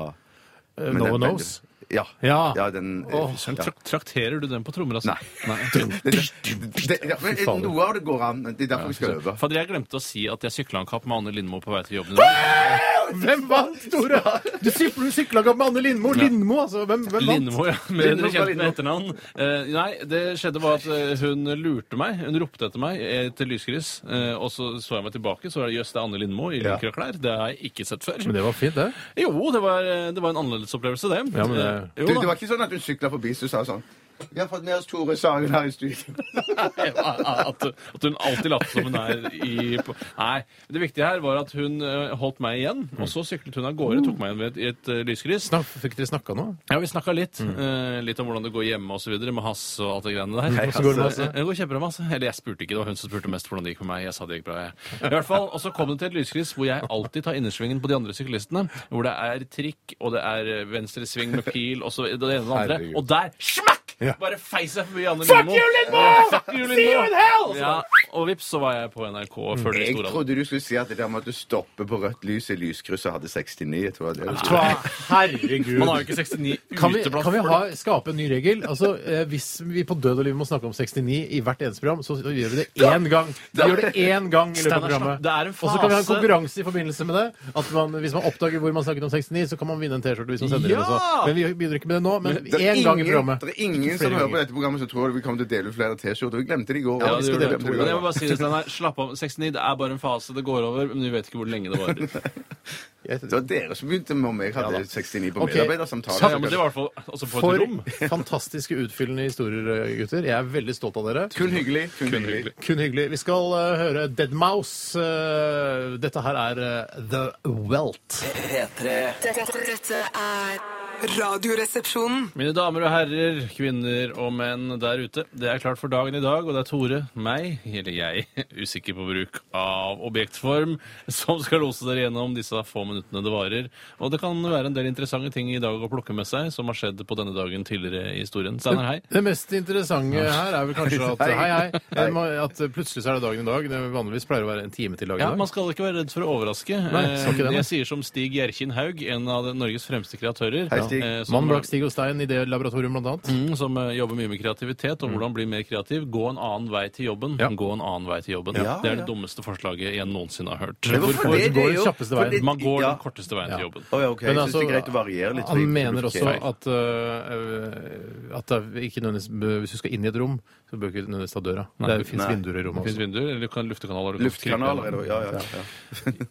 Eh,
men
No
den-
One Knows?
Ja.
Ja.
den eh,
Åh,
Men
ja.
trak- Trakterer du den på trommer, altså?
Nei. Det, det, det, ja, men,
faen.
noe av det går an. Det er derfor vi skal øve.
Fader, jeg glemte å si at jeg sykla en kapp med Anne Lindmo på vei til jobben i dag.
Hvem vant, Tore? Du sykla kamp med Anne Lindmo. Lindmo, altså. Hvem, hvem vant?
Lindmo, ja. Med
Lindmo
dere
fra
kjent med
Lindmo.
etternavn. Eh, nei, det skjedde var at eh, hun lurte meg. Hun ropte etter meg etter lyskryss. Eh, og så så jeg meg tilbake, så var det jøss, det er Anne Lindmo i
Ja.
lykra klær. Det har jeg ikke sett før.
Men det var fint, det.
Jo, det var, eh, det var en annerledes opplevelse, det.
Ja, men det-
Eh,
Du,
jo,
det
da.
var ikke sånn at hun sykla forbi så sa sånn Vi har fått med oss Tore Sagen her i studio.
at, at hun alltid later som hun er i på- Nei. Det viktige her var at hun eh, holdt meg igjen, og så syklet hun av gårde. Tok meg igjen ved et, i et eh, lyskryss.
Snak, fikk dere snakka nå?
Ja, vi snakka litt.
Mm.
eh, litt om hvordan det går hjemme osv. Med Hass og alt det greiene der.
Hvordan går det med Hass, da?
Eh, Det går kjempebra med Hass. Eller jeg spurte ikke, det var hun som spurte mest hvordan det gikk med meg. Jeg sa det gikk bra, jeg. I hvert fall, Og så kom det til et lyskryss hvor jeg alltid tar innersvingen på de andre syklistene. Hvor det er trikk, og det er eh, venstre sving med pil, og så det ene og det andre.
Herregud.
Og der smakk!
Ja.
Bare feis jeg forbi Anne
Fuck
Lindmo.
you, Lindmo!
Ja, Fuck you, Lindmo!
See you in hell!
Ja, og vips, så var jeg på NRK før det
Jeg
store.
trodde du skulle si at det der med at du stopper på rødt lys i lyskrysset og hadde 69. Jeg tror det var det du skulle.
Tva, herregud.
Man har jo ikke 69
Kan vi,
ute blant
kan vi ha, skape en ny regel? Altså, eh, Hvis vi på død og liv må snakke om 69 i hvert eneste program, så gjør vi det én gang. Vi gjør det én gang i løpet av
Steinar,
programmet.
det er en
Og så kan vi ha en
fase.
konkurranse i forbindelse med det. At man, Hvis man oppdager hvor man snakket om 69, så kan man vinne en T-skjorte. hvis man sender
Ja!
inn også. Men vi begynner ikke med det nå. Men
Det er
én gang i
ingen-
programmet.
Det er ingen som
Flere
hører på
ganger.
dette programmet som tror vi kommer til å dele ut flere T-skjorter. Vi glemte det i går.
Ja,
Vi
det
skal
gjorde
dele
det.
ut
Men
i
jeg må
går.
bare si det, Steinar. Slapp av. 69 det er bare en fase. Det går over, men vi vet ikke hvor lenge det varer.
Det var dere som begynte med om jeg
Ja, da.
hadde 69 på
Ok.
medarbeidersamtalen.
Ja, men det var i hvert fall altså, på et
For
rom.
fantastiske utfyllende historier, eh, gutter. Jeg er veldig stolt av dere.
Kun hyggelig. Kun, hyggelig.
Kun hyggelig. Vi skal eh, høre Dead Mouse. Eh, dette her er eh, The Welt.
P3
Dette, dette er
Radioresepsjonen.
Mine damer og herrer, kvinner og menn der ute. Det er klart for dagen i dag, og det er Tore, meg, eller jeg, usikker på bruk av objektform, som skal lose dere gjennom disse få minuttene det varer. Og det kan være en del interessante ting i dag å plukke med seg, som har skjedd på denne dagen tidligere i historien. Steinar, hei.
Det mest interessante her er vel kanskje at
Hei.
hei, hei, jeg må- at plutselig så er det dagen i dag. Det vanligvis pleier å være en time til dagen i
Ja,
dag.
Man skal ikke være redd for å overraske.
Nei, skal ikke det,
Eh,
nei.
jeg sier som Stig Gjerkin Haug, en av de- Norges fremste kreatører.
Hei, Stig.
Eh, som-
Mann bak Stig og Stein i det laboratoriet, blant annet.
Mm, som eh, jobber mye med kreativitet og hvordan bli mer kreativ. Gå en annen vei til jobben.
Mm. Ja.
Gå en annen vei til jobben.
Ja,
det er
ja.
det dummeste forslaget jeg noensinne har hørt.
Men
hvorfor
Hvorfor-
det? går den kjappeste veien?
fordi-
Man går
ja.
den korteste veien til jobben.
Å ja, ok.
Men
Jeg syns
altså,
det er greit å variere litt. så
Han
ikke det
mener
blir
også
feil.
at, øh, at det er ikke nødvendigvis, hvis du skal inn i et rom, så bør du ikke nødvendigvis ta døra. Det er- fins
Nei.
vinduer i rommet
Det finnes
også.
vinduer, eller du kan luftekanaler. du kan
Luftkanaler er det Ja, ja. ja.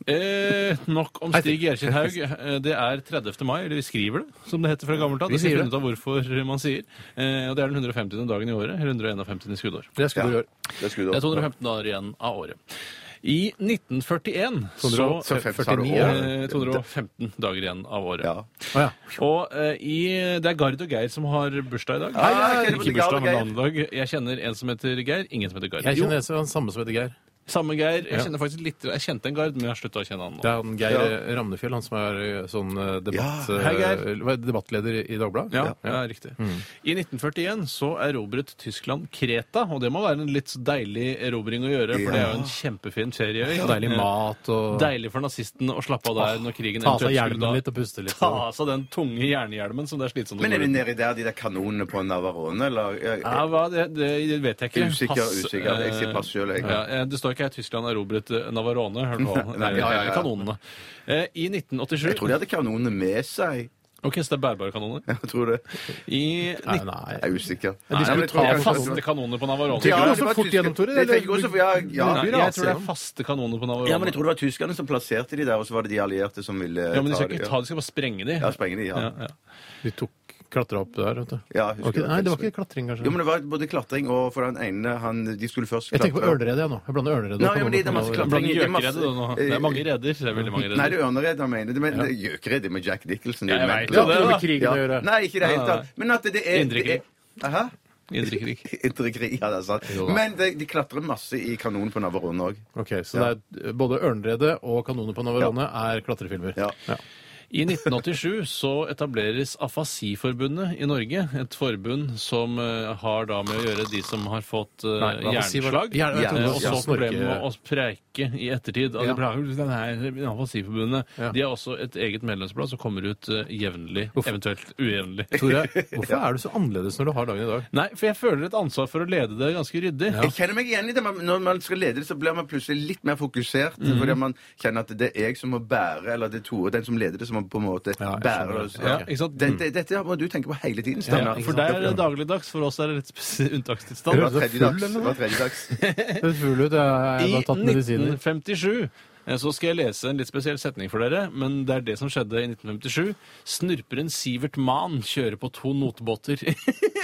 Eh, nok om Stig Gjerkin Haug. Eh, Det er 30. mai, eller vi skriver det, som det heter fra gammelt av.
Vi
Vi
sier
har
det.
funnet ut av hvorfor man sier. Eh, og det er den 150. dagen i året. Eller 151. i skuddår.
Det skulle du gjøre.
Det skulle du
Det er
også-
215 dager igjen av året. I 1941 så,
250, sa du,
49
år?
er
eh, 215 dager igjen av året.
Ja.
Å ja.
Og eh, i, det er Gard og Geir som har bursdag i dag.
Hei, hei, hei,
ikke
Gard og
bursdag, men
Geir.
navnedag. Jeg kjenner en som heter Geir, ingen som heter Gard.
Jeg
Jo,
kjenner en som- han samme som heter Geir.
samme Geir. Jeg
Ja.
kjenner faktisk litt, jeg kjente en Gard, men jeg har slutta å kjenne han nå.
Det er han Geir
Ja.
eh, Ramnefjell, han som er eh, sånn eh, debatt,
Ja,
hei, Geir.
eh, hva er det, debattleder i Dagbladet.
Ja, ja, riktig.
Mm.
I 1941 så erobret Tyskland Kreta, og det må være en litt deilig erobring å gjøre, for det er jo en kjempefin ferieøy.
Og Deilig mat og
Deilig for nazistene å slappe av der når krigen
ta av seg
eventuelt skulle da-
hjelmen litt og puste litt.
Ta av seg den tunge jernhjelmen som det er slitsomt å
Men
gå
er det
rundt med.
nedi der de der kanonene på Navarone, eller?
Ja, hva, det, det, det vet jeg ikke.
Usikker, usikker. Jeg sier pass selv, jeg.
eh, Ja, eh, det står ikke her Tyskland erobret eh, Navarone. Hør nå.
Nei, ja, ja, ja.
Kanonene. Eh, I 1987
Jeg tror de hadde kanonene med seg.
Ok, så det er bærbare kanoner.
Jeg tror det.
I
Nei,
19...
nei.
Jeg er usikker.
de
Nei, men
skulle ta
jeg tror
Det er
kanskje-
faste kanoner på Navarone.
Ja,
Ja,
det
det
var
var
fort
tysker.
gjennom, Tore.
Det tenker jeg også, for jeg- ja.
Nei,
Nei,
blir
jeg tror det er
rasende.
faste kanoner på Navarone.
Ja, men jeg tror det var tyskerne som plasserte de der, og så var det de allierte som ville
Ja, men de
ta
skal
det.
ikke ta, de skal bare sprenge de.
Ja, sprenge de, ja.
Ja, ja.
De tok klatra opp der, vet du.
Ja, jeg husker
Ok,
det.
nei, det var ikke klatring, kanskje.
Jo, men det var både klatring og for den ene han, De skulle først
Jeg tenker på ørneredet, jeg nå. Jeg blander ørneredet
Nei,
og
ja, men det- det er masse
kanoner.
klatring.
Blant
Det er masse-
gjøkeredder da, nå. Det er mange redder. Det er veldig mange
Nei, det
redder.
er ørneredet han mener. Men det er gjøkereddet med Jack Nicholson.
Ja, jeg
er
vet
jo
jo det,
mentalt.
da.
Med krigen å gjøre.
Nei, ikke i det hele
Nei,
tatt. Men at det er
Indre krig.
det er- Hæ?
Indre krig.
Indre krig, ja, det er sant.
Jo da.
Men de, de klatrer masse i kanonen på Navarone òg.
Ok, Så det er eh, både ørneredet og kanoner på Navarone er klatrefilmer.
Ja.
I 1987 så etableres Afasiforbundet i Norge. Et forbund som eh, har da med å gjøre de som har fått eh,
Nei, afasi var-
hjerneslag.
Hjerne-
Eh, Og så
Ja, snorke-
problemet med å preike i ettertid. Altså,
Ja.
Ja. Den her Afasiforbundet.
Ja.
De har også et eget medlemsblad som kommer ut eh, jevnlig, eventuelt ujevnlig.
Tore, hvorfor er du så annerledes når du har dagen i dag?
Nei, for jeg føler et ansvar for å lede det ganske ryddig.
Jeg kjenner meg igjen i det. men Når man skal lede det, så blir man plutselig litt mer fokusert. Fordi man kjenner at det er jeg som må bære, eller det er Tore, den som leder det, som må på en måte
Ja, jeg
bære
skjønner
det.
det.
Ja, ikke sant?
Det- det- Dette må du tenke på hele tiden,
Ja,
Steinar.
for deg er det dagligdags, for oss er det litt spes-
Det
unntakstilstand.
var
Høres det
tredje
full,
dags.
eller
Det var tredje dags.
Jeg er full ut, jeg jeg
I
har tatt medisiner.
1957 eh, så skal jeg lese en litt spesiell setning for dere, men det er det som skjedde i 1957. Snurperen Sivert Mann kjører på to notbåter.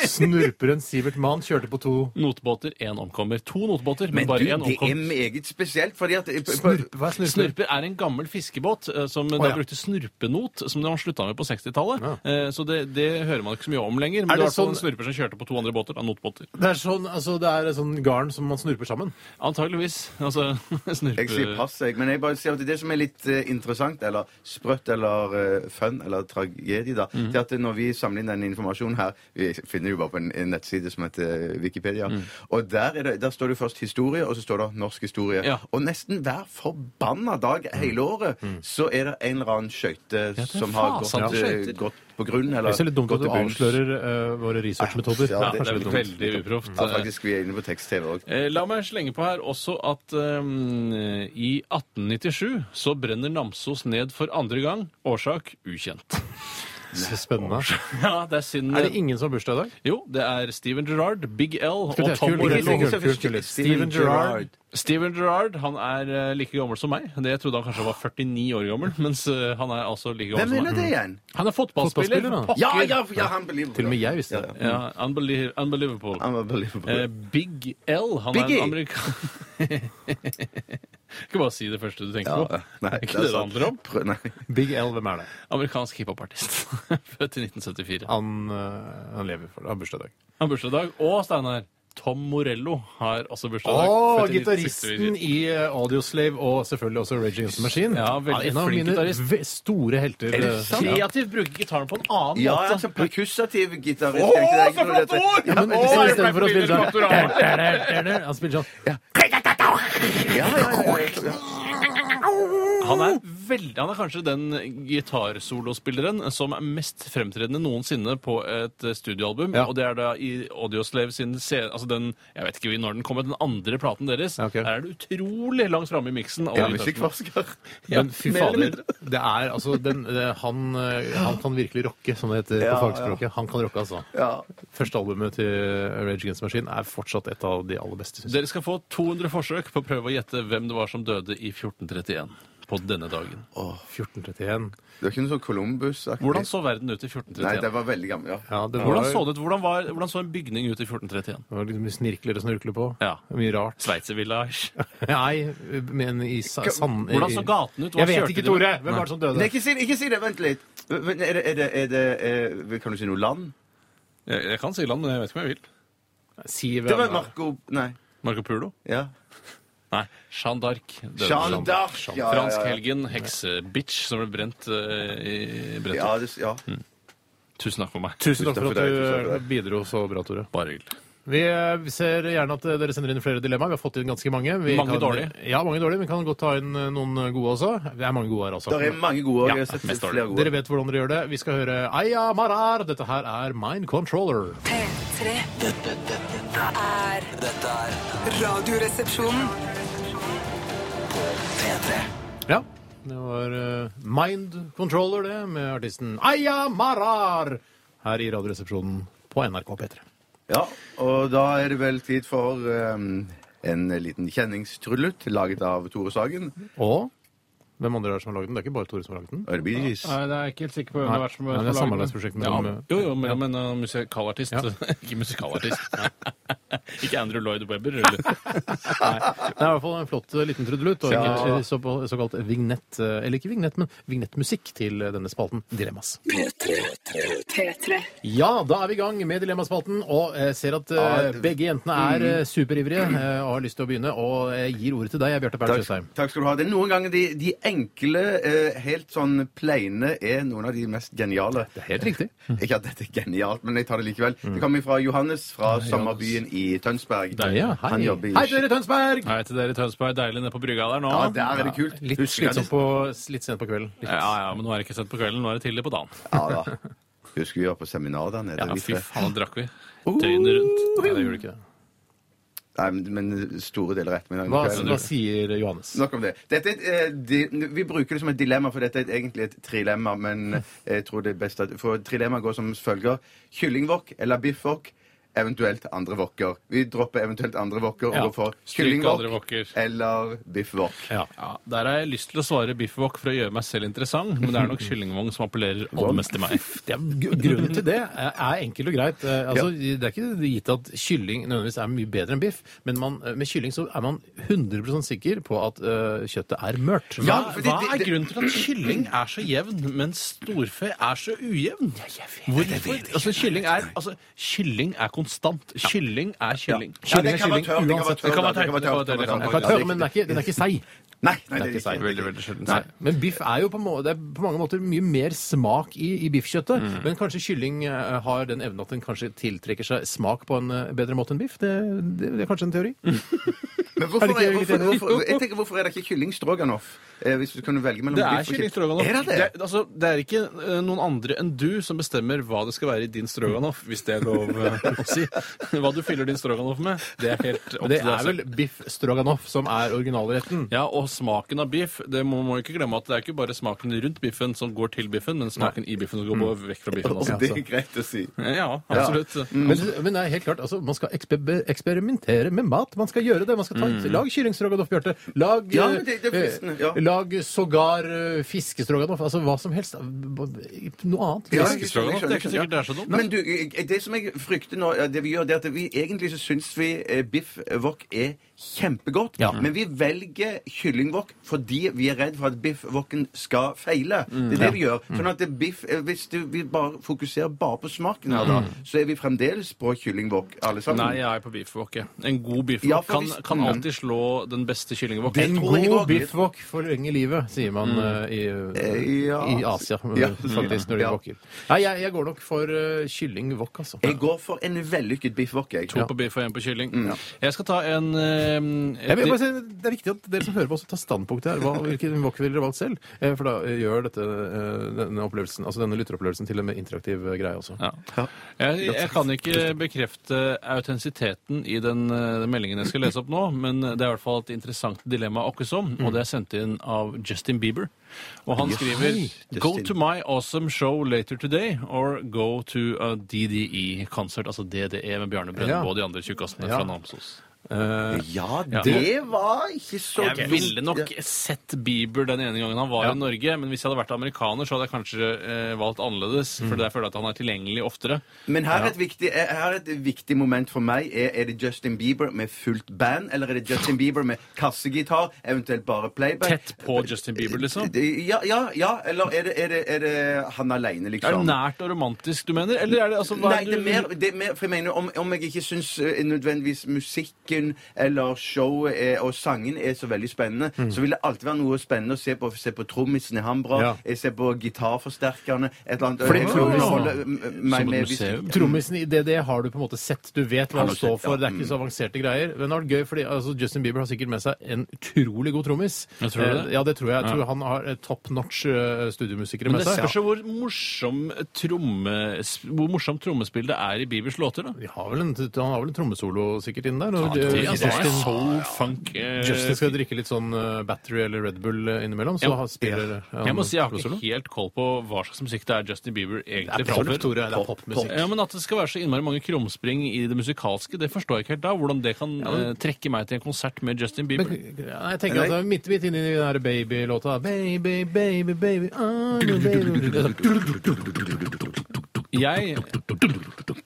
Snurperen Sivert Mann kjørte på to
notbåter, én omkommer. To notbåter,
Men
men,
du,
bare
det
én
er
omkom.
meget spesielt, fordi at
Snurp, Hva er snurper?
Snurper er en gammel fiskebåt eh, som da
ja.
brukte snurpenot, som man slutta med på 60-tallet.
Ja.
Eh, Så det, det hører man ikke så mye om lenger. Men
Er
det var
det
i hvert fall
sånn-
en snurper som kjørte på to andre båter, da, notbåter.
Det er sånn, altså, det er sånn garn som man snurper sammen.
Antageligvis. Altså, snurpe...
Jeg sier pass, jeg. Men jeg bare sier at det som er litt eh, interessant, eller sprøtt, eller eh, fun, eller tragedie, da, det er at når vi samler inn den informasjonen her Vi finner det jo bare på en, en nettside som heter eh, Wikipedia. Og der, er det, der står det først historie, og så står det norsk historie.
Ja.
Og nesten hver forbanna dag hele året så er det en eller annen skøyte
er
som har gått,
fasen til
eh,
skøyter.
gått på grunn,
Det
eller
er så litt dumt
gått
at du
til bunns.
avslører eh, våre researchmetoder.
Ja,
Ja,
det er
det er
litt dumt.
veldig uproft.
Ja, faktisk, vi er inne på tekst-TV òg.
Eh, La meg slenge på her også at ehm, i 1897 så brenner Namsos ned for andre gang. Årsak ukjent.
Så spennende.
Ja, det er synd.
Er det ingen som har bursdag i dag?
Jo, det er Steven Gerrard, Big L og
Skal vi ta
Tom
kul- kul-
Morello.
kul- kul- kul- Steven Gerrard.
Steven Gerrard han er eh, like gammel som meg. Det Jeg trodde han kanskje var 49 år gammel, mens eh, han er altså like
Hvem
gammel
ville
som meg.
det igjen?
Han er fotballspiller.
Fotballspiller, da.
pokker.
Ja, ja, ja, han blir
Til og med jeg visste det.
Ja, unbelie- unbelievable.
Han var unbelievable.
Eh, Big L, han
Biggie.
er en amerikaner Skal bare si det første du tenker på.
Nei,
er ikke det det
sant.
handler om.
Prø- Nei.
Big L, hvem er det?
Amerikansk hiphopartist. Født i 1974.
Han, eh, han lever for det. Han har bursdag i dag.
Han har bursdag. Og Steinar, Tom Morello har også bursdag. i dag.
Å,
Født i 1964.
gitaristen i eh, Audioslave og selvfølgelig også Rage Against the Machine.
Ja, veldig
Han er en av
flink
mine
gitarist.
ve- store helter.
Er det
eh,
sant?
Ja.
Kreativt bruker gitaren på en annen
Ja,
måte.
altså perkussativ gitarist.
Å,
tenkte jeg.
så flott ord!
Ja, men,
Men i
Å,
stedet- i
jeg
stedet for å
ble
spille sånn
forvirret,
Han spiller sånn
ja, ja, ja, ja, ja.
Han er, veldig, han er kanskje den gitarsolospilleren som er mest fremtredende noensinne på et eh, studioalbum.
Ja.
Og det er da i Audioslave sin se- altså den, Jeg vet ikke når den kommer, den andre platen deres.
Ja, ok.
Der er det utrolig langt framme i miksen.
Ja, musikkforsker.
Men fy
mer eller
fader, det er altså den, det, han, eh, han kan virkelig rocke, som det heter på fagspråket. Han kan rocke, altså.
Ja.
Første albumet til Rage Against the Machine er fortsatt et av de aller beste. Synes. jeg.
Dere skal få 200 forsøk på å prøve å gjette hvem det var som døde i 1431. På denne dagen.
1431.
Det var ikke noe sånn Columbus-aktig.
Hvordan så verden ut i
Nei,
1431?
det var veldig gammel, ja.
Ja, det var,
Hvordan så, det ut? Hvordan, var, hvordan så en bygning ut i 1431?
det var litt mye snirkler og snurkler på.
Ja.
Mye rart.
Sveitservillage?
Nei, men i sa- sand...
Hvordan så gaten ut? Hva
Jeg
kjørte
vet ikke,
de med?
Tore. Hvem var det som
Nei,
døde?
ikke si det! ikke si det, Vent litt. Men Er det, er det, er det eh, Kan du si noe land?
Jeg, jeg kan si land, men jeg vet ikke om jeg vil.
Si hvem
Det var Marco Nei.
Marco Pulo?
Ja.
Nei. Jeanne d'Arc. døde.
Jeanne d'Arc. Ja, ja, ja, ja.
Fransk helgen, heksebitch, som ble brent eh, i brent.
Ja, det, ja.
Mm. Tusen takk for meg.
Tusen takk for
Tusen takk for
at
deg, tusen takk for
du bidro så bra, Tore.
Bare hyggelig.
Vi eh, ser gjerne at eh, dere sender inn flere dilemmaer. Vi har fått inn ganske mange. Vi
Mange
kan,
dårlige.
Ja, mange dårlige. Vi kan godt ta inn eh, noen gode også. Det er mange gode her, altså.
Det er mange gode. og
Ja,
jeg har
mest
sett
dårlig.
flere gode.
Dere vet hvordan dere gjør det. Vi skal høre Aya Marar. Dette her er Mind Controller.
P3
Dette, dette, dette,
er
dette er
Radioresepsjonen.
P3.
Ja. Det var eh, Mind Controller, det, med artisten Aya Marar her i Radioresepsjonen på NRK P3.
Ja, og da er det vel tid for ehm, en liten kjenningstrullet laget av Tore Sagen.
Og hvem andre er det som har lagd den? Det er ikke bare Tore som har lagd den.
Og det blir Gees.
Nei, det er jeg ikke helt sikker på hvem det
Nei,
har vært som
nei, det er
som laget
samarbeidsprosjekt
Ja,
mellom
Jo, jo, men, men uh, musikalartist. ikke musikalartist. ikke Andrew Lloyd Webber. Eller?
Det er i hvert fall en flott eh, liten trudelutt og
Ja.
en eh, så, såkalt vignett, eh, eller ikke vignett, men vignettmusikk til eh, denne spalten Dilemmas.
P3.
Ja, da er vi i gang med Dilemmaspalten, og eh, ser at eh,
Ja, det- Mm.
begge jentene er eh, superivrige eh, og har lyst til å begynne, og eh, gir ordet til deg, Bjarte Perl Tjøstheim.
Takk, takk skal du ha. Det er noen ganger de, de enkle, eh, helt sånn pleine, er noen av de mest geniale.
Det er helt riktig. Mm.
Ikke at dette er genialt, men jeg tar det likevel. Det kommer fra Johannes fra sommerbyen i Tønsberg.
Der,
Ja, hei.
Han jobber i
hei til dere, Tønsberg!
Hei til dere i Tønsberg. Deilig nede på brygga der nå.
Ja, der er det kult.
Litt
Husker
slitsomt
jeg-
på, litt sent på kvelden. Litt.
ja, ja, men nå er det ikke sent på kvelden. Nå er det tidlig på dagen.
Ja, da. Husker vi var på seminar der nede.
Ja,
vi
fy
tre.
faen, da drakk vi
Oh.
døgnet rundt.
Nei, det gjør det ikke. det.
Nei, men- men store deler av ettermiddagen.
Hva,
kvelden.
hva sier Johannes?
Nok om det. Dette er, et, eh, di, vi bruker det som et dilemma, for dette er et- egentlig et trilemma. Men jeg tror det er best at For trilemma går som følger. Kyllingwok eller biffwok, eventuelt andre wokker. Vi dropper eventuelt andre wokker
Ja,
og går for
stryk andre
kyllingwok
wokker.
eller biffwok.
Ja.
Ja, Der har jeg lyst til å svare biffwok for å gjøre meg selv interessant, men det er nok kyllingvogn som appellerer aller mest til meg.
Det er, gr- grunnen til det er er enkelt og greit. Eh, Altså, Det er ikke gitt at kylling nødvendigvis er mye bedre enn biff, men man, eh, med kylling så er man 100 sikker på at eh, kjøttet er mørt.
Hva,
fordi
hva
det-
er
det-
grunnen til at kylling er så jevn, mens storfe er så ujevn? Hvorfor? Altså, kylling er, altså, kylling er konstant. Kylling er kylling.
Ja, det kan være tørr, det kan være
uansett.
tørr,
Det kan
da, det kan være
være tørr,
tørr,
det kan være tørr, det
Den
det kan være
kan
tørr.
være tørr, men den er ikke, den er ikke seig.
Nei,
Den
nei, det
er ikke
er
seig.
ikke sant.
Veldig, veldig sjelden.
Nei, Men biff er jo på, må, det er på mange måter mye mer smak i, i biffkjøttet.
Mm.
Men kanskje kylling eh, har den evnen at den kanskje tiltrekker seg smak på en eh, bedre måte enn biff? Det, det, det er kanskje en teori?
Men hvorfor,
Er det ikke
er,
litt
hvorfor,
enig?
hvorfor, jeg tenker, hvorfor er det ikke kylling stroganoff? Eh, hvis du kunne velge mellom
Det er
biff og
kylling stroganoff.
Er det det?
er- altså, det er ikke eh, noen andre enn du som bestemmer hva det skal være i din stroganoff, hvis det er lov eh, å si. Hva du fyller din stroganoff med, det er helt opp
Men
til
det
deg
er
selv.
vel biff stroganoff som er originalretten.
Ja, og smaken av biff. Det må man ikke glemme at det er ikke bare smaken rundt biffen som går til biffen, men smaken i biffen som går på, vekk fra biffen også.
Og det er greit å si.
Mm. Ja, Mm. absolutt.
Men, men det er helt klart, altså, man skal eksper eksperimentere med mat. Man skal gjøre det. Man skal ta, Lag kyllingstroganoff, Bjarte. Lag,
Mm. Ja,
eh,
men det- det er fristende, ja.
eh, lag sågar eh, fiskestroganoff. Altså hva som helst. Noe annet.
Ja, jeg skjønner,
Fiskestroganoff,
jeg
det er ikke
skjønner,
sikkert det er så dumt.
Men du, jeg- det som jeg frykter nå, ja, det vi gjør, det er at vi egentlig så syns vi eh, biff wok er kjempegodt,
Ja.
men vi velger kyllingwok fordi vi er redd for at biff woken skal feile.
Mm.
Det er det vi gjør. Sånn at det biff, eh, hvis du, vi bare fokuserer bare på smaken her, da, så er vi fremdeles på kyllingwok, alle sammen.
Mm. Nei, jeg er på beefwok. jeg. En god beefwok
Ja, for
kan,
hvis-
kan
Mm.
alltid slå den beste kyllingwok.
En
tror jeg
god
også.
biffwok forlenger livet, sier man eh, i,
Mm. Eh, ja.
i Asia,
Ja.
faktisk, når de
Ja.
wokker. Nei, jeg, jeg går nok for uh, kyllingwok, altså.
Jeg går for en vellykket biff wok, jeg.
To på biff og en på kylling. Jeg skal ta en eh, eh,
Jeg vil bare
det-
si, det er viktig at dere som hører på, også tar standpunkt her. Hva, hvilken wok ville dere valgt selv? Eh, For da eh, gjør dette, eh, denne opplevelsen, altså denne lytteropplevelsen til en mer interaktiv eh, greie også.
ja. jeg, jeg kan ikke bekrefte autentisiteten i den eh, meldingen jeg skal lese opp nå, men det er i hvert fall et interessant dilemma åkkesom, og det er sendt inn av Justin Bieber. Og han skriver Go to my awesome show later today, or go to a DDE-konsert, altså DDE med Bjørne Brøndbo og de andre tjukkassene
Ja.
fra Namsos.
Ja,
Ja.
det var ikke så
Jeg
dumt.
ville nok
Ja.
sett Bieber den ene gangen han var
Ja.
i Norge, men hvis jeg hadde vært amerikaner, så hadde jeg kanskje eh, valgt annerledes.
Mm.
For der føler jeg at han er tilgjengelig oftere.
Men her er, et viktig, eh, her er et viktig moment for meg. Er, er det Justin Bieber med fullt band, eller er det Justin Bieber med kassegitar, eventuelt bare playback?
Tett på Justin Bieber, liksom.
Det- Ja, ja, ja. Eller er det, er det, er det han aleine, liksom?
Er det nært og romantisk du mener, eller er det altså hva
Nei, det er,
du-
mer, det er mer For jeg mener, om, om jeg ikke syns eh, nødvendigvis musikken eller showet er, og sangen er så veldig spennende,
Mm.
så vil det alltid være noe spennende å se på. Se på trommisen i Hambra,
Ja.
jeg ser på gitarforsterkerne et eller annet.
Fordi
Jeg
trommisen-
forholder, eh, meg
Som et
med-
museum.
Trommisen i DD har du på en måte sett. Du vet hva
Har
han
du
står
sett,
for.
ja.
Det er
Mm.
ikke så avanserte greier. Men det har vært gøy, fordi altså, Justin Bieber har sikkert med seg en utrolig god trommis.
Jeg tror det.
Eh, Ja, det tror jeg. Jeg
Ja.
tror han har eh, top notch eh, studiomusikere
Men
med
det
seg.
spørs jo hvor morsom tromme, hvor morsomt trommespill det er i Biebers låter, da.
De har vel en, han har vel en trommesolo sikkert inn der. Og,
Ja, det,
eh,
altså, det er
Justin-
soul, funk eh,
Justin skal drikke litt sånn eh, Battery eller Red Bull eh, innimelllam, så
Ja.
han spiller eh,
Jeg må si jeg har
trommesolo.
ikke helt koll på hva slags musikk det er Justin Bieber
Det
egentlig
er pop,
framfører.
Tore. Det er popmusikk.
Ja, men At det skal være så innmari mange krumspring i det musikalske, det forstår jeg ikke helt da. Hvordan det kan eh, trekke meg til en konsert med Justin Bieber.
Men, ja, jeg tenker at det er midt, midt inni den der babylåta Baby, baby, baby, ah. I'm a baby Det er sånn-
Jeg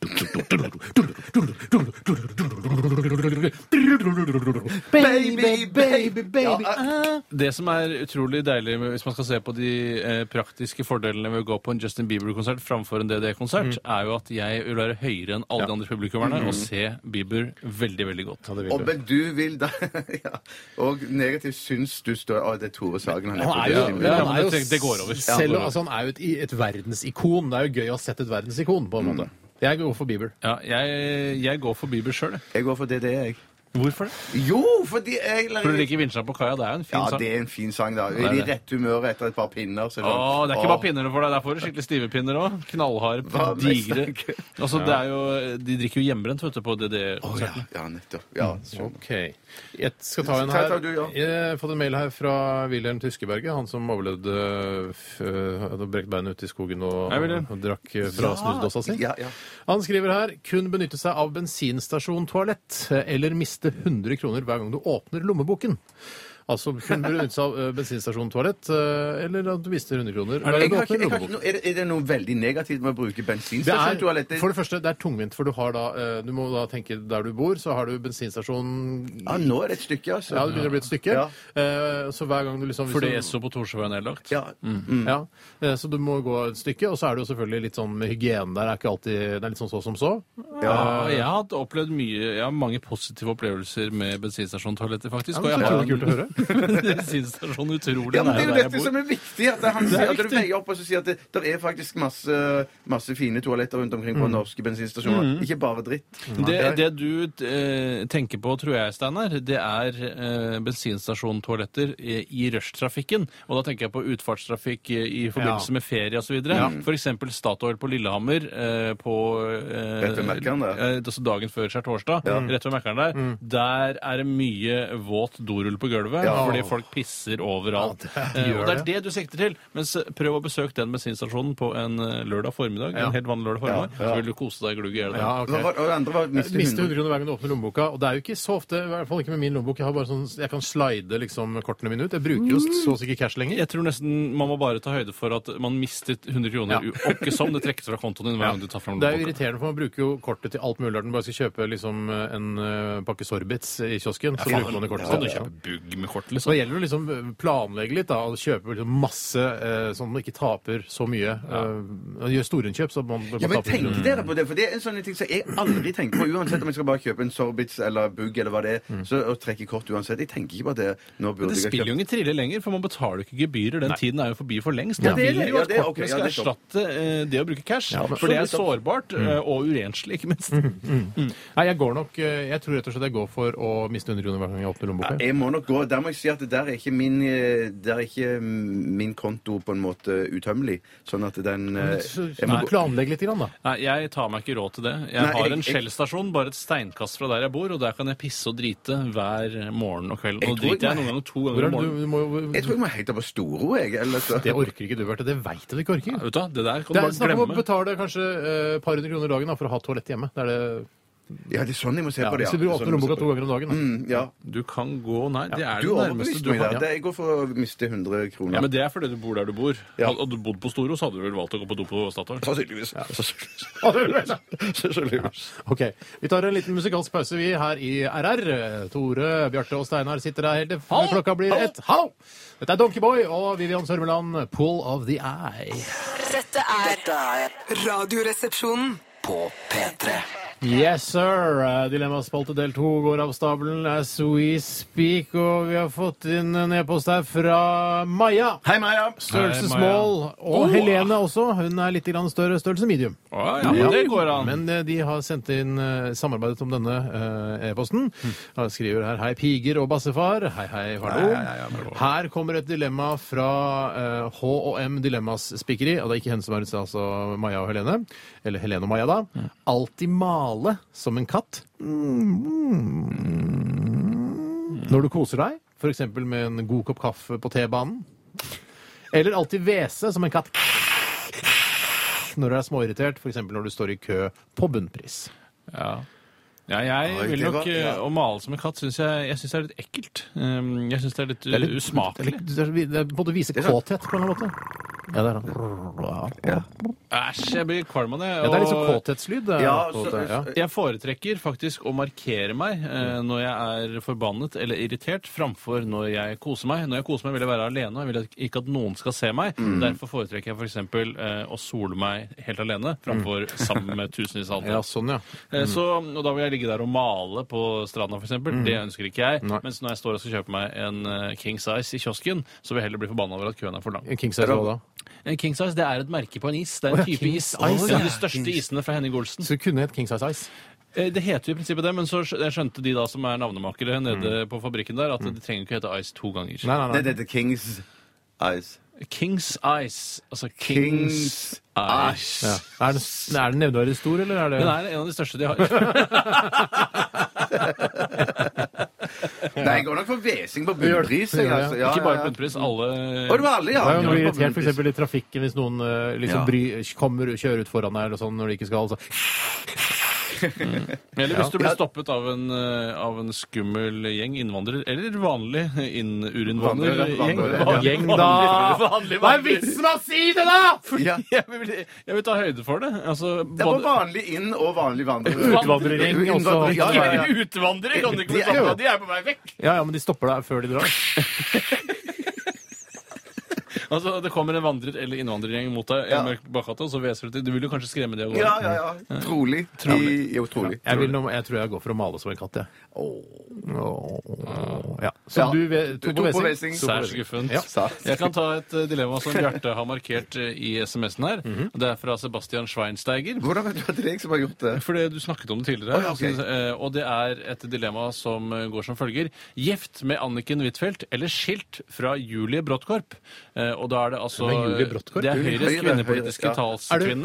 Baby, baby, baby ah.
Det som er utrolig deilig med- hvis man skal se på de eh, praktiske fordelene ved å gå på en Justin Bieber-konsert framfor en DDE-konsert,
Mm.
er jo at jeg vil være høyere enn alle de andre publikummerne og se Bieber veldig, veldig godt.
Og, men du vil da ja. Og negativt syns du står Å, det er Tore Sagen. Han er,
Han
på
er jo,
Justin Bieber.
Ja,
han er
men
jo
det- det går over.
Selv, om- altså, han er jo et, et verdensikon. Det er jo gøy å ha sett et verdensikon, på en måte. Jeg går for Bieber.
Ja, jeg, jeg går for Bieber sjøl.
Jeg går for DDE, jeg.
Hvorfor det?
Jo, fordi jeg
For du liker Vinsja på kaia. Det er jo en fin
Ja,
sang.
det er en fin sang, da.
er
I
det.
rett humør etter et par pinner. Så sånn.
Å, det er ikke bare pinner for deg. Der får du skikkelig stive pinner òg. Knallharde,
Hva mest
digre
tenker jeg?
Altså, det er jo, De drikker jo hjemmebrent vet du, på DDE-konserten.
Ja, ja, nettopp. Ja,
Mm.
skjønner.
Ok. Jeg skal ta en
Ta-
her.
ta du, ja.
Jeg har fått en mail her fra Wilhelm Tyskeberget, han som overlevde f- hadde brekt beinet ute i skogen og,
Hei, Wilhelm.
og drakk fra snusdåsa si.
Ja, ja.
Han skriver her kun benytte seg av bensinstasjontoalett eller miste 100 kroner hver gang du åpner lommeboken. Altså kun benytte seg av eh, bensinstasjontoalett eh, eller at du mister 100 kroner hver
Jeg
gang du
har ikke,
åpner
jeg har ikke
lommeboken.
noe, er, det, er det noe veldig negativt med å bruke
Det er,
bensinstasjontoalett?
for det første, det er tungvint, for du, har da, eh, du må da tenke der du bor, så har du bensinstasjonen
Ja, nå er det et stykke, altså.
Ja, det begynner å bli et stykke.
Ja.
Eh, så hver gang du liksom hvis
Fordi
du-
Esso på Torsjøen er nedlagt.
Ja.
ja, eh, Så du må gå et stykke. Og så er det jo selvfølgelig litt sånn med hygiene der. Er ikke alltid, det er litt sånn så som så.
Ja, jeg har hatt opplevd mye, jeg har mange positive opplevelser med bensinstasjontoaletter,
Ja,
faktisk. og
det
jeg
er
har
utrolig kult å høre.
en bensinstasjon utrolig
Ja, men Det er
nær
jo
der jeg
dette
bor.
som er viktig. At han sier at du
viktig.
veier opp og så sier at det, der er faktisk masse, masse fine toaletter rundt omkring på
Mm.
norske bensinstasjoner. Ikke bare dritt.
Det, det du eh, tenker på, tror jeg, Steinar, det er eh, bensinstasjontoaletter i, i rushtrafikken. Og da tenker jeg på utfartstrafikk i, i forbindelse
Ja.
med ferie osv. Ja. F.eks. Statoil på Lillehammer eh, på eh,
Rett ved Mækkern, det.
eh, altså dagen før skjærtorsdag. Rett ved Mækkern der. Der er det mye våt dorull på gulvet
Ja.
fordi folk pisser overalt.
Ja, det
Eh,
gjør
og det er
det.
det du sikter til. Mens eh, prøv å besøke den bensinstasjonen på en eh, lørdag formiddag.
Ja.
En helt vanlig lørdag formiddag.
Ja, ja.
Så vil du kose deg glugg i hjel. der.
Ja, ok.
Hva var- Og det andre var miste
Miste 100
100.
kroner hver gang du åpner lommeboka. Og det er jo ikke så ofte, i hvert fall ikke med min lommebok. Jeg, har bare sånn, jeg kan slide liksom kortene mine ut. Jeg bruker jo så sikkert cash lenger.
Jeg tror nesten man må bare ta høyde for at man mistet 100 kroner.
Ja.
Ja. Ikke som det trekkes fra kontoen din hver gang du tar fram
Det er jo
lommeboka.
irriterende, for man bruker jo kortet til alt mulig. Når man bare skal kjøpe liksom, en eh, pakke sorbits i kiosken, så bruker man det kortet.
Kan du
sitt.
kjøpe bugg med kort,
Så
liksom?
det gjelder å liksom planlegge litt da, og kjøpe liksom masse eh, sånn at man ikke taper så mye. Eh, gjør storinnkjøp, så man, man
Ja, men
taper ikke
tenk
noe.
dere på det, for det er en sånn ting som jeg aldri tenker på. Uansett om jeg skal bare kjøpe en Sorbitz eller Bugg eller hva det er, så og trekke kort uansett. Jeg tenker ikke på det. Nå burde
Det
jeg ha
spiller jo ingen trille lenger, for man betaler jo ikke gebyrer. Den tiden er jo forbi for lengst.
Ja,
Man
det er
vil
det.
jo
Ja,
at
det er ok.
kortene
Ja,
skal
det er sant.
erstatte eh, det å bruke cash,
men- Mm.
for det er sårbart eh, og urenslig, ikke minst.
Nei, jeg går nok eh, Jeg tror rett og slett jeg går for å miste 100 kroner hver gang jeg åpner lommeboka.
Jeg må nok gå. Der må jeg si at det der er ikke min, eh, der er ikke min konto på en måte utømmelig. Sånn at den eh,
Så-
jeg må
så
gå-
Planlegg litt, grann, da.
Nei, jeg tar meg ikke råd til det.
Nei,
Jeg
jeg-
har en
jeg-
Shell-stasjon bare et steinkast fra der jeg bor, og der kan jeg pisse og drite hver morgen og kveld.
Jeg
Nå
tror
driter
ikke-
jeg noen ganger to
Hvor
ganger
er det,
om morgenen.
du, du må, jo-
Jeg tror jeg må heite på Storo, jeg. Ellers så
det orker ikke du, Bjarte. Det veit jeg du ikke orker.
Vet du, hva, det der kan
Det
du
er
bare
snakk om å
glemme.
betale kanskje eh, et par hundre kroner dagen da, for å ha toalett hjemme. Det er det,
Ja, det er sånn jeg må se
ja,
på det.
hvis du
Det
åpner
er sånn jeg må se
lommeboka
på
to ganger om dagen. Da.
det. Mm, Ja.
Du kan gå Nei, det er
Du
det nærmeste
overbeviste
du
meg
har.
der. Det- Jeg går for å miste 100 kroner.
Ja, men Det er fordi du bor der du bor.
Ja.
Hadde hadde du bodd på Storo, så hadde du vel valgt å gå på do på Statoil.
Sannsynligvis. Sannsynligvis.
Ok, Vi tar en liten musikalsk pause, vi, her i RR. Tore, Bjarte og Steinar sitter der helt til klokka blir ett. Hallo! Dette er Donkeyboy og Vivian Sørmeland, 'Pool of the Eye'.
Dette er Radioresepsjonen.
På P3
Yes, sir! Eh, Dilemmaspalte del to går av stabelen as we speak, og vi har fått inn en e-post her fra Maja.
Hei, Maja.
Størrelse
Hei, Maja.
small. Og
Oh.
Helene også. Hun er litt grann større. Størrelse medium.
Å, ja, men det går an.
Men eh, de har sendt inn eh, samarbeidet om denne eh, e-posten. Han skriver her Hei, piger og bassefar. Hei, hei, hallo. Her kommer et dilemma fra eh, H&M Dilemmas Spikkeri. Og det er ikke henne som er ute, altså Maja og Helene. Eller Helene og Maja, da. Alltid male som en katt. Når du koser deg, f.eks. med en god kopp kaffe på T-banen. Eller alltid hvese som en katt når du er småirritert, f.eks. når du står i kø på bunnpris.
Ja. Ja, jeg
Oi,
vil
det
nok
var-
eh,
ja.
Å male som en katt syns jeg, jeg synes det er litt ekkelt. Um, Jeg syns det er litt,
Det er litt-
usmakelig.
Det er, litt- det er, på en måte vise
er sant.
kåthet på en eller annen måte. Ja, det er han.
Æsj, jeg blir kvalm av det.
Ja, det er litt sånn
og-
kåthetslyd. det er
Ja,
på en
så-
måte, ja.
Jeg foretrekker faktisk å markere meg eh, når jeg er forbannet eller irritert, framfor når jeg koser meg. Når jeg koser meg, vil jeg være alene, og jeg vil at- ikke at noen skal se meg. Derfor foretrekker jeg f.eks. For eh, å sole meg helt alene, framfor sammen med tusenvis av andre.
ja, sånn, ja.
Eh, Mm. Så, og da vil jeg ligge der og male på stranda, f.eks. eksempel Det ønsker ikke jeg.
Mm. Nei.
Mens når jeg står og skal kjøpe meg en eh, King Size i kiosken, så vil jeg heller bli forbanna over at køen er for lang.
King size hva da?
En King Size det er et merke på en is. Det er
Å,
en
ja,
type
King
is.
Size,
En av
ja.
de største isene fra Henning Olsen.
Så du kunne hett King size ice.
Eh, Det heter jo i prinsippet det, men så skj- jeg skjønte de da som er navnemakere nede på fabrikken der, at det trenger ikke hete Ice to ganger.
Mm. Nei, nei,
Det
nei.
heter Kings Eyes.
Kings Ice. Altså Kings,
Kings
Ice.
Ja. Er den, er den nevneverdig stor, eller er det
Den er en av de største de har.
Nei, jeg går nok for hvesing på bunnpris. jeg,
Ja, ja.
Altså. Ja,
Ikke bare
ja, ja.
bunnpris, alle
Og det var alle, ja.
Det er jo noe
Ja, på
irritert for
bunnpris.
eksempel i trafikken hvis noen eh, liksom
Ja.
bry, kommer kjører ut foran deg eller sånn når de ikke skal. Så.
Eller hvis du blir stoppet av en, eh, av en skummel gjeng innvandrer, eller vanlig
Vandrer, vandrer, ja.
innurinnvandrergjeng.
Hva er vitsen med å si det, da?!
Ja.
Jeg vil, jeg vil ta høyde for det. Altså,
Det var
både
vanlig inn- og vanlig vandrer.
Utvandrering også.
Utvandrering, Ja, ja, ja.
Utvandrere kan du ikke bli
De er jo-
stoppet av, de er på vei vekk!
Ja, ja, men de stopper deg før de drar.
Altså, Det kommer en vandrer- eller innvandrergjeng mot deg i
Ja.
en mørk bakgate, og så hveser du til Du vil jo kanskje skremme de av gårde.
Ja, ja, ja. Trolig. I, jo, trolig.
Jeg, vil, nå- jeg tror jeg går for å male som en katt, jeg. Åh. Ja. Så
Ja.
du ve-
To
tok
på
på Wesing?
Wesing.
Særs guffent.
Ja.
Særs.
Jeg kan ta et eh, dilemma som Bjarte har markert eh, i SMS-en her.
Mhm.
Det er fra Sebastian Schweinsteiger.
Hvordan vet du at det er jeg som har gjort det?
Fordi du snakket om det
Å,
tidligere.
ja, ok.
altså, eh, Og det er et dilemma som eh, går som følger. Gift med Anniken Huitfeldt eller skilt fra Julie Bråttkorp? Eh, Og da er det altså
Hvem er Julie Brodtkorb?
Det er
Julie-
Høyres
Høyre,
kvinnepolitiske
Høyre, ja.
talskvinne.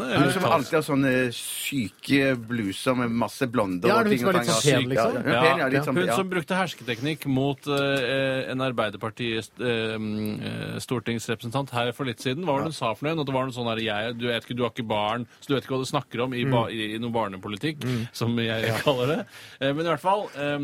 Hun
eller
som
tals-
alltid har sånne syke bluser med masse blonder
Ja, er
og
det hun
ting
som
og
er litt
tang,
sånn pen,
syk,
liksom?
Ja, ja, pen, ja, litt sånn,
Hun
ja.
som brukte hersketeknikk mot eh, en Arbeiderparti-stortingsrepresentant her for litt siden. Hva var det hun sa for noe? At det var noe sånn her, jeg, du, vet ikke, du har ikke barn, så du vet ikke hva du snakker om i,
Mm.
ba, i, i noen barnepolitikk, som jeg kaller det. Eh, men i hvert fall eh,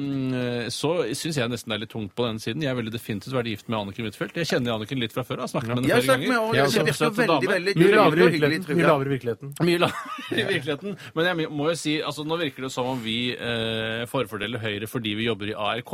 så syns jeg nesten det er litt tungt på den siden. Jeg ville definitivt vært gift med Anniken Huitfeldt. Jeg kjenner Anniken litt fra før. Jeg har snakket med
Jeg
henne
har
flere
snakket med
ganger.
henne,
Ja,
og
som
det virker
søt dame.
veldig, veldig
Mye lavere i
hyggelig,
virkeligheten.
tror jeg.
Mye lavere i virkeligheten.
Mye lavere i virkeligheten. Men jeg må jo si, altså nå virker det som om vi eh, forfordeler Høyre fordi vi jobber i ARK,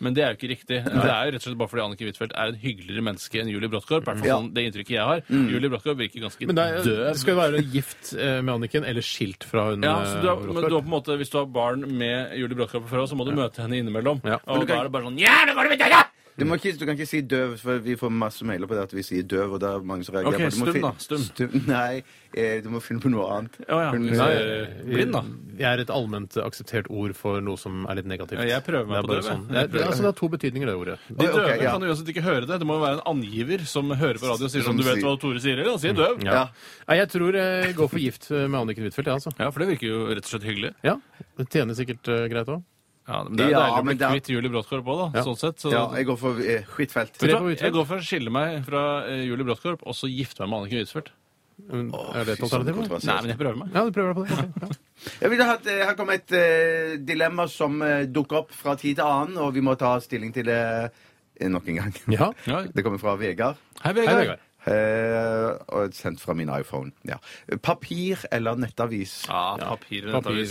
men det er jo ikke riktig. Det er jo rett og slett bare fordi Annike Huitfeldt er en hyggeligere menneske enn Julie Bråttkorp. hvertfall
Ja.
sånn det inntrykket jeg har. Julie Bråttkorp virker ganske
Men det er,
døv.
skal jo være gift eh, med Anniken, eller skilt fra hun
Ja, så du har,
eh,
men du har på en måte, Hvis du har barn med Julie Bråttkorp fra før, så må du møte henne innimellom.
Ja. Men
Og
du
da er det bare sånn Ja, nå går det med deg, da!
Du, må ikke, du kan ikke si døv, for vi får masse mailer på det at vi sier døv. og det er mange som reagerer
Ok,
på det. Du må
stum
fin-
da, stum.
Nei, eh, du må finne på noe annet.
Å ja.
Hun-
Nei, blind, da.
Jeg er et allment akseptert ord for noe som er litt negativt.
Ja, jeg prøver meg
det er
på
bare
det, jeg.
Sånn. Det, er, det, er- altså, det har to betydninger, det ordet.
De
Ok,
døve
ja.
kan uansett ikke høre det. Det må jo være en angiver som hører på radio og sier
Som
sånn Du vet
sier-
hva Tore sier, eller? Han sier døv.
Ja. Nei, jeg tror jeg går for gift med Anniken Huitfeldt, jeg, altså.
Ja, for det virker jo rett og slett hyggelig.
Ja, Det tjener sikkert eh, greit òg.
Ja, men Det er
Ja,
deilig å
men
bli
det er-
kvitt Julie Bråttkorp òg, da.
Ja.
Sånn sett. Så...
Ja, jeg går for eh, Huitfeldt.
Vet du
Tre på
hva?
Huitfeldt.
jeg går for å skille meg fra eh, Julie Bråttkorp og så gifte meg med Anniken Huitfeldt.
Er det et alternativ? da?
Nei, men jeg prøver meg.
Ja, du prøver deg på det. Ok, ja.
Jeg vil ha, et, eh, her kommer et eh, dilemma som eh, dukker opp fra tid til annen, og vi må ta stilling til det eh, nok en gang.
Ja.
Ja.
Det kommer fra Vegard.
Hei,
Hei, Vegard.
Vegard.
eh, og sendt fra min iPhone. Ja. Papir eller nettavis?
Ja, papir.
Papir.
Papir.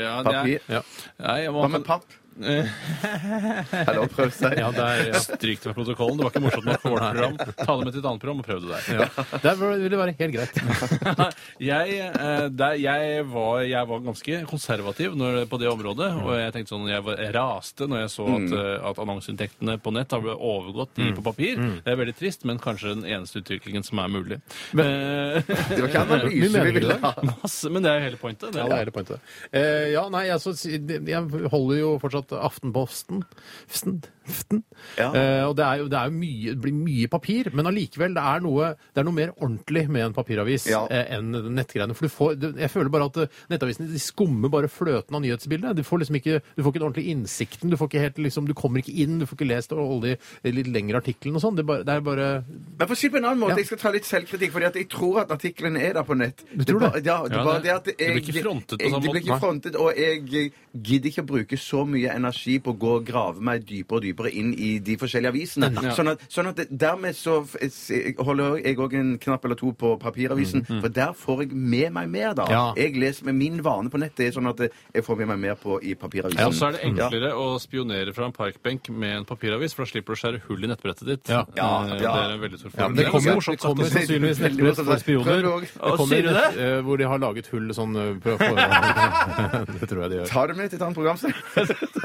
Ja, det er-
Papir.
Ja.
Nei, jeg må
Hva med papp? Eller prøv seg.
Ja, det er, ja.
Stryk det fra protokollen. Det var ikke morsomt nok for vårt program. Ta det med til et annet program og prøv det der.
Ja. Det ville være helt greit.
Jeg, eh, der, jeg, var, jeg var ganske konservativ når, på det området. Og jeg tenkte sånn, jeg var, jeg raste når jeg så at, eh, at annonseinntektene på nett har overgått de på papir. Det er veldig trist, men kanskje den eneste utviklingen som er mulig. Eh,
Det var ikke
Mye
analyse
meninger
vi ville
der.
ha.
masse, men det er jo hele pointet.
Ja,
Det er-
det er hele pointet. Eh, ja, nei, altså, si- jeg holder jo fortsatt Aftenposten. Fsten, fsten.
Ja.
Eh, og det, er jo, det, er jo mye, det blir mye papir, men allikevel, det er noe, det er noe mer ordentlig med en papiravis
Ja.
eh, enn nettgreiene. For du får, du, jeg føler bare at eh, nettavisene de skummer bare fløten av nyhetsbildet. Du får liksom ikke, du får ikke den ordentlige innsikten, du, får ikke helt, liksom, du kommer ikke inn, du får ikke lest alle de litt lengre artiklene og sånn. Det, er bare- det er bare
Men for å si det på en annen måte,
Ja.
jeg skal ta litt selvkritikk, fordi at jeg tror at artiklene er der på nett. Du
tror det?
Ja, det,
Ja,
er bare
det-
det at jeg,
det blir ikke frontet på
jeg- Det
samme
blir
måte,
ikke
nei.
frontet, og jeg gidder ikke å bruke så mye energi på å gå og grave meg dypere og dypere inn i de forskjellige avisene. Sånn at, sånn at det- dermed så f- s- holder jeg òg en knapp eller to på papiravisen, for der får jeg med meg mer, da.
Mm, Ja.
Jeg leser med min vane på nett, det er sånn at jeg får med meg mer på i papiravisen.
Ja, og så er det
Ja.
enklere å spionere fra en parkbenk med en papiravis, for da slipper du å skjære hull i nettbrettet ditt.
Ja.
Ja, ja.
Eh, Det er en veldig
Ja,
stor fordel.
men det kommer,
morsomt
det kommer
sagt.
sannsynligvis
Veldig
nettbrett
morsomt
for
sagt.
spioner.
Prøv det
også.
kommer
Sier du det?
nett, eh, Hvor de har laget hull sånn eh, på forhånd. Det tror jeg de gjør.
Ta det med til et annet program, så.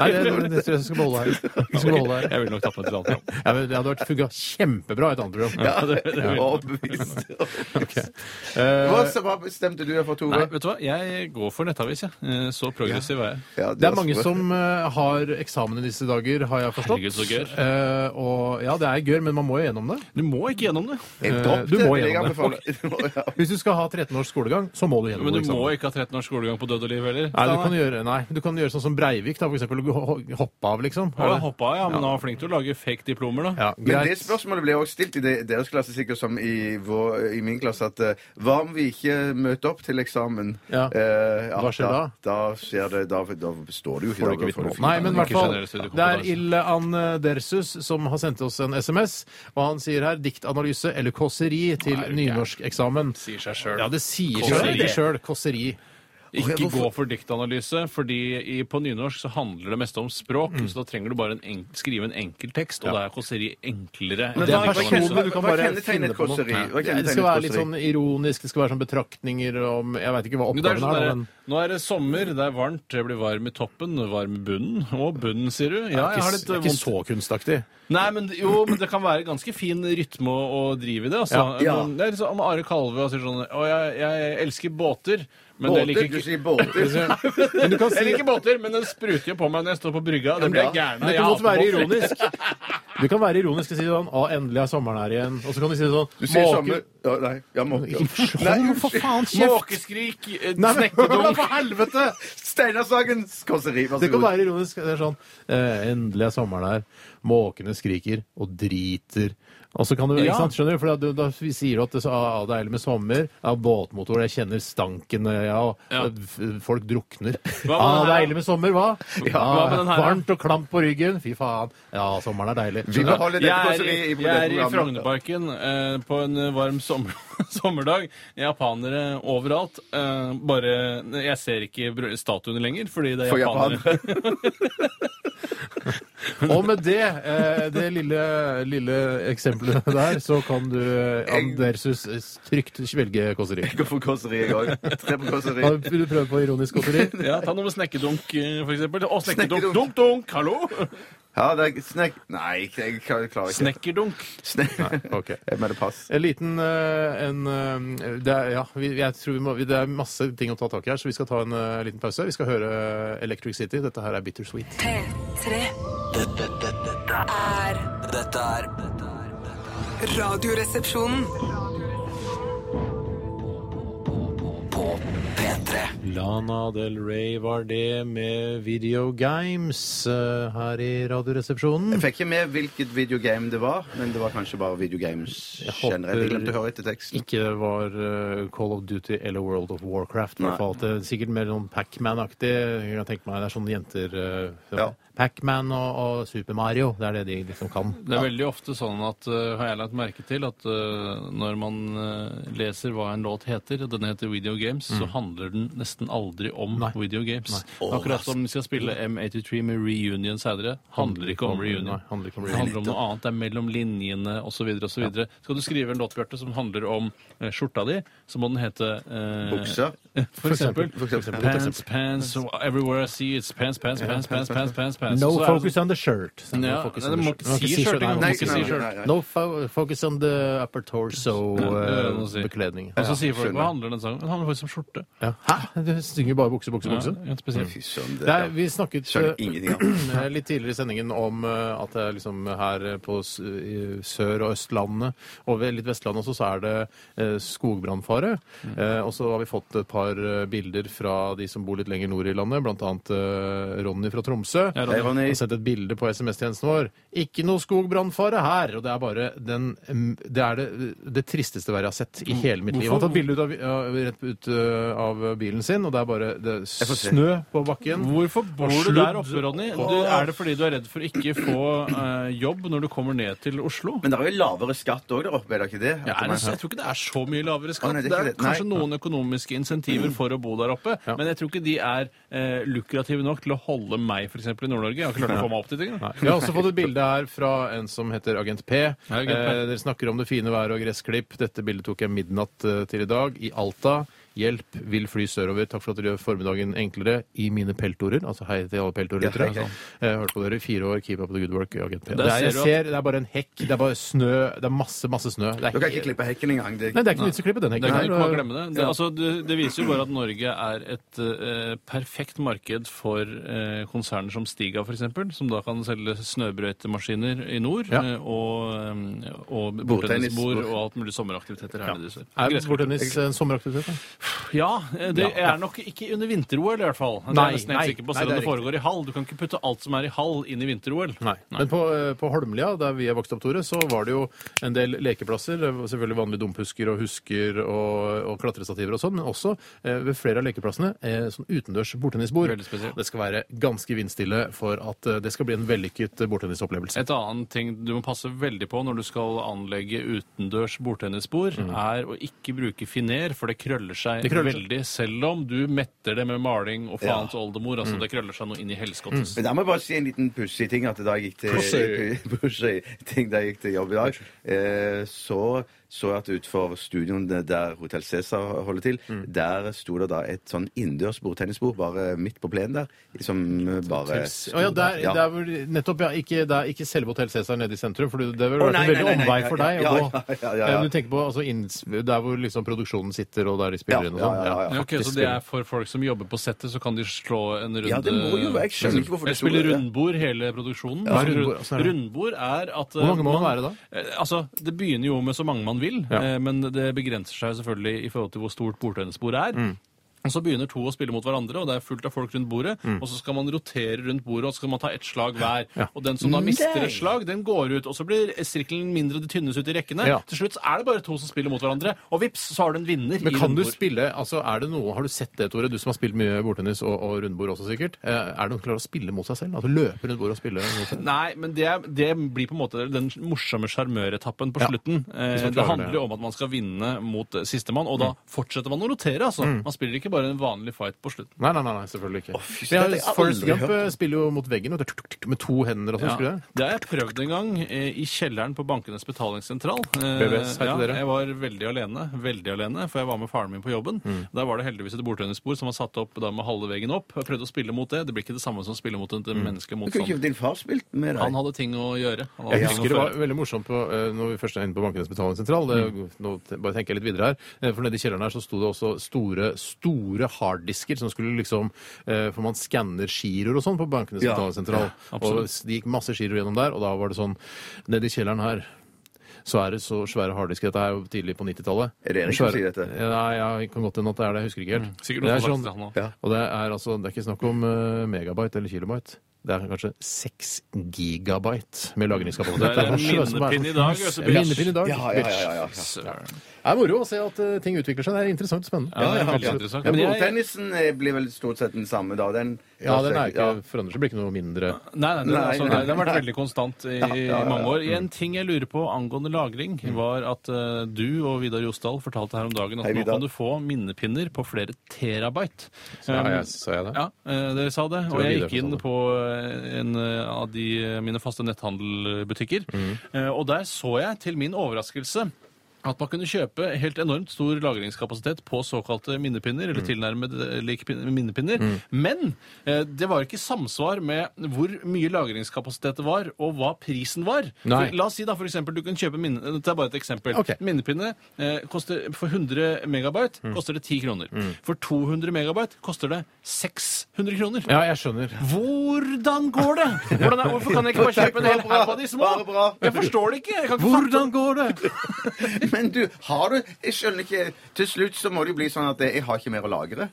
Nei, det, det, det tror jeg vi skal beholde her. Vi skal beholde her.
Jeg vil nok tappe det til alt. ja.
Ja, men det hadde vært funka kjempebra i et annet program.
Ja,
det- det-
overbevist.
Eh,
Hva, så, hva bestemte du for, Tore?
Nei, vet du hva? Jeg går for nettavis, jeg. Eh, Så progressiv er jeg.
Ja,
Det er
var
mange
sprø.
som eh, har eksamen i disse dager, har jeg forstått.
Herregud, så gørr.
Eh, og ja, det er gørr, men man må jo gjennom det.
Du må ikke gjennom det.
Jeg
Eh,
droppte
du må
det, vil jeg
gjennom det.
anbefale. Ja.
Hvis du skal ha 13 års skolegang, så må du gjennom
Men du må
eksamen.
ikke ha 13 års skolegang på død og liv heller.
Nei, du kan gjøre, nei, du kan gjøre sånn som Breivik, da, for eksempel. og ho- Hoppe av, liksom.
Ja, jeg hoppet av, ja, men han var flink til å lage fake diplomer, da.
Ja,
Men
greit.
det spørsmålet ble også stilt i de- deres klasse, sikkert som i, vår, i min klasse, at eh, hva om vi ikke møter opp til eksamen?
Ja.
Eh, ja,
Hva skjer da?
Da, skjer det, da, da står du jo ikke.
Får du ikke
da
vitnemål.
får du fint.
Nei, men i hvert
Ikke generell
fall, det er
studiekompetanse.
Illan Dersus som har sendt oss en SMS, og han sier her diktanalyse eller kåseri til nynorskeksamen.
Sier seg selv.
Ja, det sier
Kåseri.
seg sjøl. Kåseri.
Ikke gå for diktanalyse, fordi i, på nynorsk så handler det meste om språk,
Mm.
så da trenger du bare en enk, skrive en enkel tekst, og da er kåseri enklere. enn
Det
hva-
er
hva
personlig,
kjenner-
du kan
hva
bare
kjennetegner
finne
et
på noe.
kåseri? Hva
Ja,
kjennetegner
Det skal være
et
litt
kåseri?
sånn ironisk, det skal være sånn betraktninger om Jeg veit ikke hva
Men det er
oppgaven
sånn
er,
der,
da, men
nå er det sommer, det er varmt, det blir varm i toppen, varm i bunnen. Og bunnen, sier du? Ja, jeg har litt
det er ikke
vondt.
så kunstaktig.
Nei, men jo, men det kan være ganske fin rytme å, å drive i det. Altså.
Ja.
Noen- Det er liksom om Are Kalve og sier sånn Å, jeg, jeg elsker båter, men jeg
Båter,
liker
du
ikke
sier båter.
Men du kan
jeg
si
liker båter, men den spruter jo på meg når jeg står på brygga. Det blir jeg
Ja,
gæren
Men
av.
det
Jeg
kan godt
hater
være
båter.
ironisk. Du kan være ironisk og si sånn Å, endelig er sommeren her igjen. Og så kan du si sånn
Du sier
«Måke-
sommer... Ja, nei, ja, måke. Nei,
Hold nå for faen kjeft!
Måkeskrik, eh,
Nei, men-
snekkerdunk
For helvete!
Steinar Sagens kåseri, vær så
Det kan
god.
være ironisk. Det er sånn eh, Endelig er sommeren her. Måkene skriker og driter. Og så kan du,
Ja.
ikke sant, skjønner du? For da, da sier du at det, ah, det er deilig med sommer. Ja, båtmotor, jeg kjenner stanken eh, ja, og
Ja.
f- Folk drukner.
med
ah,
den her,
deilig med sommer, hva? Ja,
hva med den her, da?
varmt og klamt på ryggen. Fy faen. Ja, sommeren er deilig.
Vi beholder dette
Jeg er,
kåseriet
i-
i på
jeg er
dette
i
programmet.
Frognerparken eh, på en eh, varm sommer, sommerdag. Japanere overalt. Eh, bare Jeg ser ikke br- statuene lenger, fordi det er
For
japanere.
Og med det, eh, det lille, lille eksempelet der, så kan du, eh, Andersus, eh, trygt velge kåseri.
Jeg går for kåseri, jeg òg. Tre på kåseri.
Har du prøvd på ironisk kåseri?
Ja, Ta noe med snekkerdunk, eh, for eksempel. Å, snekkerdunk!
Snekkerdunk.
Dunk, dunk! Hallo!
Ja, det er snek... Nei, jeg klarer ikke
Snekkerdunk.
Snek...
Ok.
Jeg mener pass.
En liten eh, en, eh, det er, Ja, vi, jeg tror vi må, vi- det er masse ting å ta tak i her, så vi skal ta en eh, liten pause. Vi skal høre eh, Electric City. Dette her er Bittersweet.
P3
Dette, dette, dette,
er
er- dette er dette er- dette er
Radioresepsjonen.
På P3
Lana Del Rey var det med Video Games eh, her i
Jeg
Radioresepsjonen.
fikk ikke med hvilket videogame det var, men det var kanskje bare videogames
håper-
generelt. Jeg glemte å høre etter teksten.
Ikke det var eh, Call of Duty eller World of Warcraft. i
Nei.
hvert fall. Det er sikkert mer sånn Pac-Man-aktig. Jeg kan tenke meg Det er sånne jenter eh,
Ja.
Pac-Man og, og Super Mario. Det er det de liksom kan.
Det er veldig ofte sånn at eh, har jeg lagt merke til at eh, når man eh, leser hva en låt heter, og den heter Video Games, så handler den nesten aldri om
Mm. Nei.
Video Games. Akkurat
altså.
som vi skal spille M83 med Reunion senere, handler ikke om Reunion.
Nei, handler ikke om
Det
Reunion.
handler om noe annet. Det er mellom linjene osv. osv. Skal du skrive en låt, Bjarte, som handler om eh, skjorta di, så må den hete eh,
Bukser.
For eksempel.
For eksempel.
Pants, pants, everywhere I see it's pants, pants, pants, pants, pants, pants, pants.
No
Så er det
focus on the shirt. Så
Ja,
no focus
nei,
on
du
the
må
shirt. Man
ikke
kan
si skjørt
Nei,
engang.
Nei,
ikke
nei,
si
nei,
skjørt.
nei, nei. No fo focus on the upper torso
det må
uh,
du si.
bekledning.
Og så sier folk
skjønner.
hva handler den sangen? Den handler faktisk om skjorte.
Ja. Hæ? Du synger bare bukse, bukse, bukse?
Ja, helt spesielt.
Fy søren, det
Det er, vi snakket
Skjønner
eh,
ingenting av det.
eh, litt tidligere i sendingen om eh, at det er liksom her eh, på s- i Sør- og Østlandet og ved litt Vestlandet også, så er det eh, skogbrannfare.
Mm.
Eh, Og så har vi fått et par eh, bilder fra de som bor litt lenger nord i landet, blant annet eh, Ronny fra Tromsø.
Ja,
Hei,
Ronny.
Ronny.
har sendt et bilde på SMS-tjenesten vår. Ikke noe skogbrannfare her! Og det er bare den mm, Det er det, det tristeste været jeg har sett i hele mitt liv. Han har tatt bilde ut av, ja, rett ut uh, av bilen sin, og det er bare det er
se.
snø på bakken.
Hvorfor bor du
sludd.
der oppe, Ronny? Du, er det fordi du er redd for ikke få eh, jobb når du kommer ned til Oslo?
Men det er jo lavere skatt òg der oppe, er det ikke det?
Ja, er det, så- jeg tror ikke det er så mye lavere skatt.
Å, nei,
det,
det er
er
ikke det. Nei.
kanskje noen økonomiske insentiver for å bo der oppe,
Ja.
men jeg tror ikke de er eh, lukrative nok til å holde meg for eksempel, i Nord-Norge. Jeg har ikke klart å få meg opp dit engang.
Vi har også fått et bilde her fra en som heter Agent P.
Agent P.
Eh, dere snakker om det fine været og gressklipp. Dette bildet tok jeg midnatt eh, til i dag i Alta. Hjelp, vil fly sørover. Takk for at dere gjør formiddagen enklere i mine peltorer. Altså hei til alle peltorryttere.
Ja, hei,
Jeg hørte på dere i fire år. Keep up the good work, Agent P.
Der
Det er, jeg
ser du at-
ser, det er bare en hekk. Det er bare snø. Det er masse, masse snø. Det
Du kan ikke klippe hekken engang. Det...
Nei, det er ikke noe vits i å klippe den
Det
hekken.
kan du
her.
ikke bare glemme det. Det, altså, det, det viser jo bare at Norge er et eh, perfekt marked for eh, konserner som Stiga f.eks., som da kan selge snøbrøytemaskiner i nord,
Ja.
eh, og, eh, og
Bordtennis.
bordtennisbord og alt mulig sommeraktiviteter her nede i sør.
Er
Gressklipp.
bordtennis en sommeraktivitet? da?
Ja, eh, det
Ja.
er nok ikke under vinter-OL i hvert fall. Det er
Nei,
jeg nesten helt
nei,
sikker på,
nei,
selv om
det
det
er
foregår i hall. Du kan ikke putte alt som er i hall, inn i vinter-OL.
Nei. Men på, eh, på Holmlia, der vi er vokst opp, Tore, så var det jo en del lekeplasser. Det var Selvfølgelig vanlige dumpusker og husker og, og klatrestativer og sånn, men også eh, ved flere av lekeplassene eh, sånn utendørs bordtennisbord.
Veldig spesielt.
Det skal være ganske vindstille for at eh, det skal bli en vellykket eh, bordtennisopplevelse.
Et annet ting du må passe veldig på når du skal anlegge utendørs bordtennisbord, er å ikke bruke finer, for det krøller seg
Mm. Det krøller seg.
veldig. Selv om du metter det med maling og faens oldemor.
Mm.
Altså, det krøller seg noe inn i helskottet.
Men da må jeg bare si en liten pussig ting. At da jeg gikk til, pussig ting, da jeg gikk til jobb i dag, eh, så så jeg at utenfor studioene der Hotell Cæsar holder til,
Mm.
der sto det da et sånn innendørs bordtennisbord bare midt på plenen der, som
Eh,
bare
Å ja, der,
Ja.
der hvor, nettopp, ja. Ikke, det er ikke selve Hotell Cæsar nede i sentrum, for det det ville
Å,
vært en
nei,
veldig
nei, nei,
omvei
nei,
for
ja,
deg å
ja,
gå.
ja, ja, ja, ja.
Eh, Du tenker på altså, inns- der hvor liksom produksjonen sitter, og der de spiller
Ja,
inn og
ja,
sånn.
ja, ja.
Ja, ok, så det er for folk som jobber på settet, så kan de slå en runde
Ja, det må jo være. Jeg skjønner ikke hvorfor
Eller
det sto
spille
det.
rundbord hele produksjonen.
Ja,
Altså,
rundbord, sånn er det.
rundbord er at eh,
Hvor mange må det være da?
Altså, Det begynner jo med så mange man vil,
Ja.
eh, men det begrenser seg jo selvfølgelig i forhold til hvor stort bordtennisbord er.
Mm.
Og Så begynner to å spille mot hverandre, og det er fullt av folk rundt bordet.
Mm.
Og så skal man rotere rundt bordet, og så skal man ta ett slag hver. Og den som da mister et slag, den går ut. Og så blir sirkelen mindre, det tynnes ut i rekkene.
Ja.
Til slutt er det bare to som spiller mot hverandre, og vips, så har du en vinner.
Men
i
kan du
rundbord.
spille altså er det noe, Har du sett det, Tore? Du som har spilt mye bordtennis og, og rundbord også, sikkert. Eh, Er det noen som klarer å spille mot seg selv? Altså løpe rundt bordet og spille mot seg selv?
Nei, men det, er- det blir på en måte den morsomme sjarmøretappen på
Ja,
slutten. Eh,
man klarer
det handler
det. Mm.
jo om at man skal vinne mot eh, sistemann, og da fortsetter man å rotere, altså. Man spiller ikke ikke bare en vanlig fight på slutten.
Nei, nei, nei, nei, selvfølgelig ikke. Men
fy, dette
jeg,
har jeg
Forrest
aldri
Gump
hørt.
eh, spiller jo mot veggen vet du, tuk, tuk, tuk, med to hender og sånn.
Ja.
skulle jeg?
Det har jeg prøvd en gang eh, i kjelleren på Bankenes betalingssentral. Eh,
BBS, hei til dere.
Jeg var veldig alene, veldig alene, for jeg var med faren min på jobben.
Mm.
Der var det heldigvis et bordtennisbord som var satt opp da med halve veggen opp. Jeg prøvde å spille mot det. Det blir ikke det samme som å spille mot en
Mm.
Du
menneskelig
kunne ikke
motstander.
din far spilt med deg?
Han hadde ting å gjøre. Han hadde
Jeg
ting å
husker det var
føre.
veldig morsomt på, eh, når vi først er inne på Bankenes betalingssentral. det- Nå te- bare tenker jeg litt videre her. eh, For nede i kjelleren her så sto det også store store harddisker som skulle liksom eh, For man skanner giroer og sånn på Bankenes
Ja.
betalingssentral. og
absolutt.
det gikk masse giroer gjennom der, og da var det sånn Nede i kjelleren her så er det så svære harddisker. Dette er jo tidlig på 90-tallet.
Er det Erik som
Svære-
sier dette?
Ja, Nei, ja, det kan godt hende at det er det. Jeg husker ikke helt. det
Sikkert noen
er
som har
sånn,
sagt det, han også.
Ja.
og det er altså, det er ikke snakk om eh, megabyte eller kilobyte. Det er kanskje 6 gigabyte med lagringskapasitet.
Det er en
masse- masse-
minnepinn i dag, Øse Birch.
sånn- Minnepinn i dag.
Ja, ja, ja, ja, ja.
Søren.
Det er moro å se at eh, ting utvikler seg. Det er interessant og spennende.
Ja, det er veldig
absolutt.
interessant.
Ja,
Men
men jeg-
Bordtennisen eh, blir vel stort sett den samme, da. Den,
ja, den er ikke,
ja.
forandrer seg. Blir ikke noe mindre
Nei, nei, den,
Nei,
altså,
nei.
den har vært veldig konstant i, i mange år. En
Mm.
ting jeg lurer på angående lagring, var at eh, du og Vidar Josdal fortalte her om dagen at
Hei,
nå
Vidar.
kan du få minnepinner på flere terabyte.
Ja,
Um,
jeg, sa jeg det?
ja, eh, dere sa det.
Tror
Og jeg
Vidar
gikk inn
fortalte.
på eh, en eh, av de, eh, mine faste netthandelbutikker,
Mm.
eh, og der så jeg til min overraskelse at man kunne kjøpe helt enormt stor lagringskapasitet på såkalte minnepinner,
Mm.
eller tilnærmet eh, like pin- minnepinner. Men eh, det var ikke samsvar med hvor mye lagringskapasitet det var, og hva prisen var.
Nei.
For, la oss si da for eksempel du kan kjøpe minne... Dette er bare et eksempel.
Ok. Mm.
Minnepinne eh, koster for 100 megabyte koster det 10 kroner. For 200 megabyte koster det 600 kroner.
Ja, jeg skjønner.
Hvordan går det? Hvordan er, hvorfor kan jeg ikke bare kjøpe en hel
Bare bra,
haug av de små?
bare bra.
Jeg forstår det ikke. Jeg kan ikke
Hvordan går det?
Men du, har du Jeg skjønner ikke Til slutt så må det jo bli sånn at eh, jeg har ikke mer å lagre.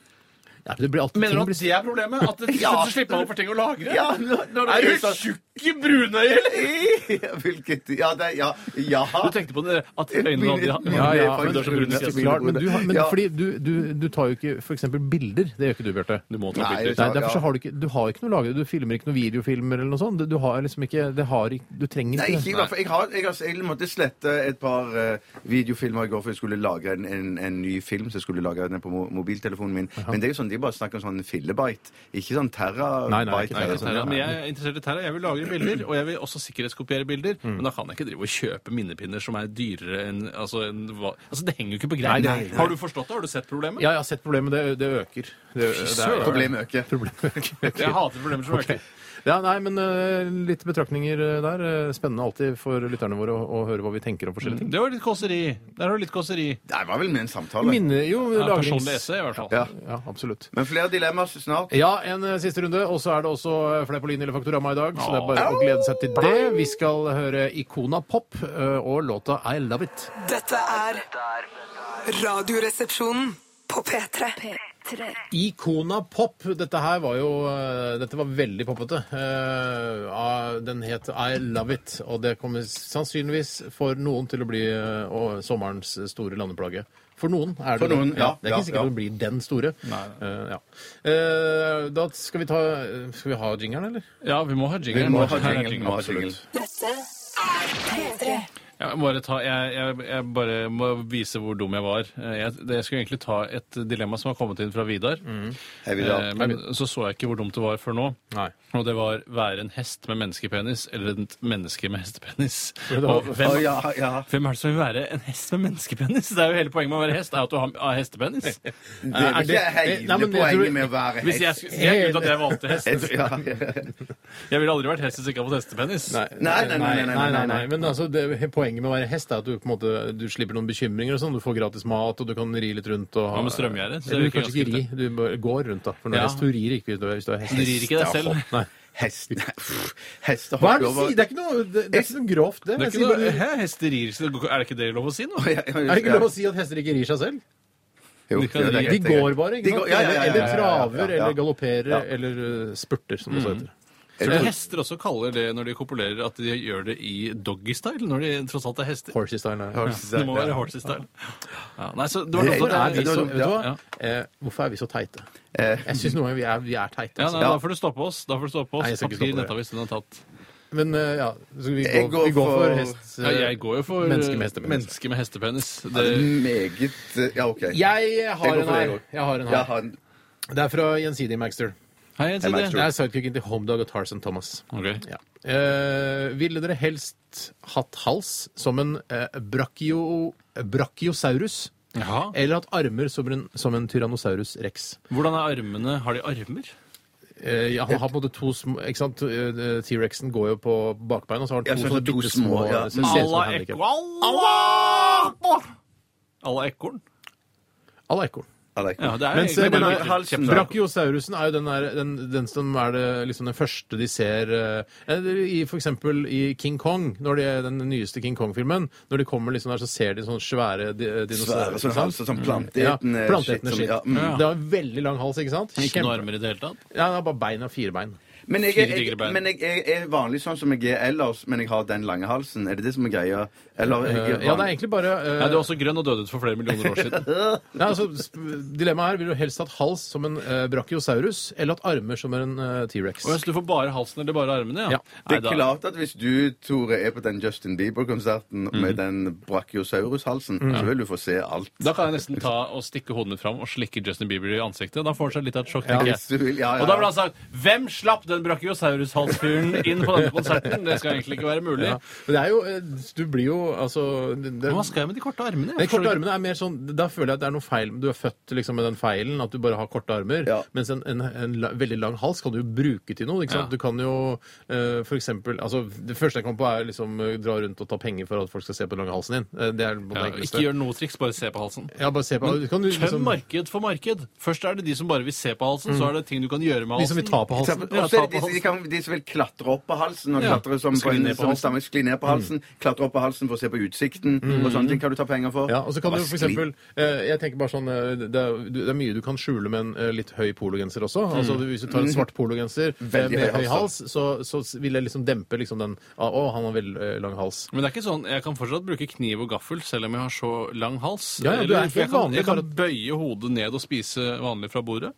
Ja, det blir alltid
Mener
ting
du at
blir
det er problemet? At det,
Ja.
så slipper man opp for ting å lagre?
Ja, når, når
Er
sånn-
du tjukk i brunøyet, eller?
Ja, Hvilket Ja, det, ja, ja.
Du tenkte på det, at øynene hadde
Mine-
Ja, ja,
Det er
men,
det er så brune
så
kjefter.
klart, men, du, har- men
Ja.
fordi du, du, du tar jo ikke f.eks. bilder. Det gjør ikke du, Bjarte.
Du må ta
Nei,
bilder.
det-
Nei, derfor så har du ikke, du har ikke noe lagret. Du filmer ikke noen videofilmer eller noe sånt. Du, du har liksom ikke, det har ikke Du trenger
Nei,
ikke
ikke i hvert fall. Jeg, har, jeg, har- jeg måtte slette et par eh, videofilmer i går, for jeg skulle lage en, en, en ny film. Så jeg skulle lage den på mo mobiltelefonen min. Men det er jo sånn, de bare snakker om sånn fillebite. Ikke sånn terrabyte.
Nei, nei, ikke
eller
terra-
sånn.
Terra, men jeg er interessert i Terra. Jeg vil lagre bilder, og jeg vil også sikkerhetskopiere bilder. Men da kan jeg ikke drive og kjøpe minnepinner som er dyrere enn altså, enn hva- altså, det henger jo ikke på greip.
Nei, nei, nei.
Har du forstått det? Har du sett problemet?
Ja, jeg har sett problemet. Det, det øker. Det, det er-
sånn. Problemet øker.
Problemet øker.
Jeg hater problemer som øker.
Ja, nei, men eh, litt betraktninger eh, der. Eh, Spennende alltid for lytterne våre å, å høre hva vi tenker om forskjellige ting.
Det var litt kåseri. Der har du litt kåseri.
Nei, det var vel med en samtale.
Det minner jo
Ja,
lagrings...
personlig essay, i hvert fall.
Ja.
Ja, absolutt.
Men flere dilemmaer snart.
Ja, en eh, siste runde, og så er det også eh, Fleipolini eller Faktorama i dag. Så det er bare å glede seg til det. Vi skal høre Ikona Pop eh, og låta I Love It.
Dette er Radioresepsjonen på P3.
Ikona Pop. Dette her var jo eh, Dette var veldig poppete. Eh, ah, Den het I Love It, og det kommer sannsynligvis for noen til å bli eh, å- sommerens store landeplage. For noen er det
For
det.
noen, ja,
Det er
ja,
ikke sikkert
ja.
det blir den store. Eh, ja. Eh, da skal vi ta Skal vi ha jingeren, eller?
Ja, vi må ha jingle.
Vi må
Her
ha
er
jingle, vi
jingle,
må ha
absolutt.
jingle.
Ja, jeg, bare ta, jeg, jeg, jeg bare må vise hvor dum jeg var. Eh, Jeg, jeg skulle egentlig ta et dilemma som har kommet inn fra Vidar.
Hei,
Eh,
Vidar.
men så så jeg ikke hvor dumt det var før nå.
Nei.
Og det var være en hest med menneskepenis eller et menneske med hestepenis.
var-
Og hvem,
Å, ja, ja.
hvem er det som vil være en hest med menneskepenis? Det er jo Hele poenget med å være hest er jo at du har, har hestepenis.
Det er vel
Eh, det-
ikke hele
Nei, men jeg tror-
poenget med å være
Hvis jeg,
hest.
skulle- jeg, jeg, jeg valgte hest.
Jeg tror- ja.
Jeg ville aldri vært hest hvis jeg ikke hadde fått hestepenis.
Nei, nei, nei, nei, nei, nei, nei.
Men altså, det, poenget med å være hest er at du på en måte du slipper noen bekymringer. og sånn, Du får gratis mat, og du kan ri litt rundt. og...
Hva med strømgjerde? Så det
Eller du
virker
kanskje ikke ri,
ganske
du bare går rundt, da. For når
Ja.
hest, du rir ikke hvis du er hvis du er hest.
Du rir ikke deg selv.
Nei.
Hest nei, pff, Hester
Hva er
hopper
det du
over
sier? Det er ikke noe, det, det er ikke noe grovt, det.
Det er
Jeg
ikke
sier
noe,
bare-
hæ, hester rir ikke. Det går- Er det ikke det lov å si nå?
Ja, ja, ja,
Er det ikke lov å
ja.
si at hester ikke rir seg selv?
Jo,
De
ja, det er
kan ri.
greit,
De
det
går
er greit.
bare,
De
ikke
går-
sant?
ja, ja, ja, ja, ja,
Eller
ja, ja.
traver, eller galopperer,
Ja. Mm.
eller uh, spurter, som det også heter.
Jeg tror Eh, hester også kaller det når de kopulerer, at de gjør det i doggystyle, når de tross alt er hester.
Horsey style. er-
Det må være horsey style. Ja, nei, så det var
Det-
noe
Hvorfor er vi
sånt-
så, vet du hva?
Ja.
Eh, hvorfor er vi så teite?
Eh,
Jeg syns noen ganger vi er, vi er teite.
Ja,
altså.
nei, Da får du stoppe oss. Da får du stoppe oss.
Nei, jeg skal ikke
Papir,
stoppe dere.
nettavis, den er tatt.
Men eh, ja, så vi
Jeg
går,
går
vi går for,
for-
hest...
Ja, jeg går jo for eh,
Menneske med hestepenis.
menneske med hestepenis.
Ja, det er
Det,
meget eh, Ja, OK.
Jeg
Jeg
har
går
en
for det, jeg
her.
går.
Jeg har en
Jeg
her.
har en
Det er fra Gjensidige Magster.
hei, jeg sier
Det
det.
er sidekicken til Homedog og Tarzan Thomas.
Ok.
Ja. Eh, ville dere helst hatt hals som en eh, brachio, brachiosaurus?
Jaha.
Eller hatt armer som en, som en tyrannosaurus rex?
Hvordan er armene? Har de armer?
Eh, ja, han har på en måte to små Ikke sant? Eh, T-rexen går jo på bakbein, og så har
Ja,
han to
så
sånne
to
bitte små
små, ja.
som ser ut som
Allah
en handicap.
ekorn! Alla ekorn?
Alla ekorn.
Alla ekorn.
Ja, det er
Mens
egentlig
den
bare
er-
bitte-
halsen-
kjempe-
Brachiosaurusen er jo den, der, den, den som er det, liksom den første de ser eh, i For eksempel i King Kong, når de, den nyeste King Kong-filmen. Når de kommer liksom der, så ser de sånne svære di- eh, dinosaurer.
Svære, sånn
ikke sant?
hals og sånn
ja,
planteetende shit
planteetende
som-
skitt.
ja, mm.
Mm. Ja.
Det har en veldig lang hals, ikke sant?
Ikke noe
Kjempe-
armer i det hele tatt?
Ja, det er bare bein og fire bein.
Men jeg,
Fire
jeg,
digre bein.
men jeg, jeg er vanlig sånn som jeg er ellers, men jeg har den lange halsen. Er det det som er greia? Eller jeg
Eh, ja, det er egentlig bare eh,
Nei, du er også grønn og døde ut for flere millioner år siden.
Nei, altså, sp- Dilemmaet her vil du helst hatt hals som en eh, brachiosaurus, eller hatt armer som en eh, T-rex.
Og jeg, så du får bare halsen eller bare armene?
Ja.
ja.
Det
Nei,
er
da-
klart at hvis du, Tore, er på den Justin Bieber-konserten med den brachiosaurus-halsen, så vil du få se alt.
Da kan jeg nesten ta og stikke hodet mitt fram og slikke Justin Bieber i ansiktet. Da får han seg litt av et sjokk. tenker jeg.
Hvis du vil. Ja, ja.
Og da altså ble han sagt Hvem slapp den brachiosaurus-halsfyren inn på denne konserten? Det skal egentlig ikke være mulig.
Ja. Men det er jo eh, Du blir jo altså det, det,
Men Hva skal jeg med de korte armene?
de korte armene er mer sånn Da føler jeg at det er noe feil. Du er født liksom med den feilen at du bare har korte armer.
Ja.
Mens en, en, en la, veldig lang hals kan du jo bruke til noe. ikke sant?
Ja.
Du kan jo eh, for eksempel, altså Det første jeg kommer på, er liksom eh, dra rundt og ta penger for at folk skal se på den lange halsen din. Eh, Det er på det
Ja,
enkleste.
ikke gjør noe triks, bare se på halsen.
ja, bare se på
Men
kan du,
Tøm
liksom, Mm.
marked for marked. Først er det de som bare vil se på halsen, så er det ting du kan gjøre med
De som
halsen.
vil liksom ta på
Og så
halsen.
Ja,
er
ta
det
på
de, som- de, kan, de som vil klatre opp på halsen, og
Ja.
klatre som, på
Skli
en,
ned på
som
halsen.
stamme, skli ned på halsen, klatre opp på halsen for å se på utsikten, og sånne ting kan du ta penger for.
Ja, og så kan
Bare
du for
skli-
eksempel, eh, jeg tenker bare sånn, eh, det er, du- det er mye du kan skjule med en eh, litt høy pologenser også. Altså du- Hvis du tar en svart pologenser eh,
Mm. Veldig
med
høy
høy
hals, da.
hals, så, så s- vil jeg liksom dempe liksom den ah, Å, han har veldig eh, lang hals.
Men det er ikke sånn, jeg kan fortsatt bruke kniv og gaffel selv om jeg har så lang hals.
Ja, ja, du er
Eller,
helt
for jeg, kan,
vanlig,
jeg kan
bare-
bøye hodet ned og spise vanlig fra bordet.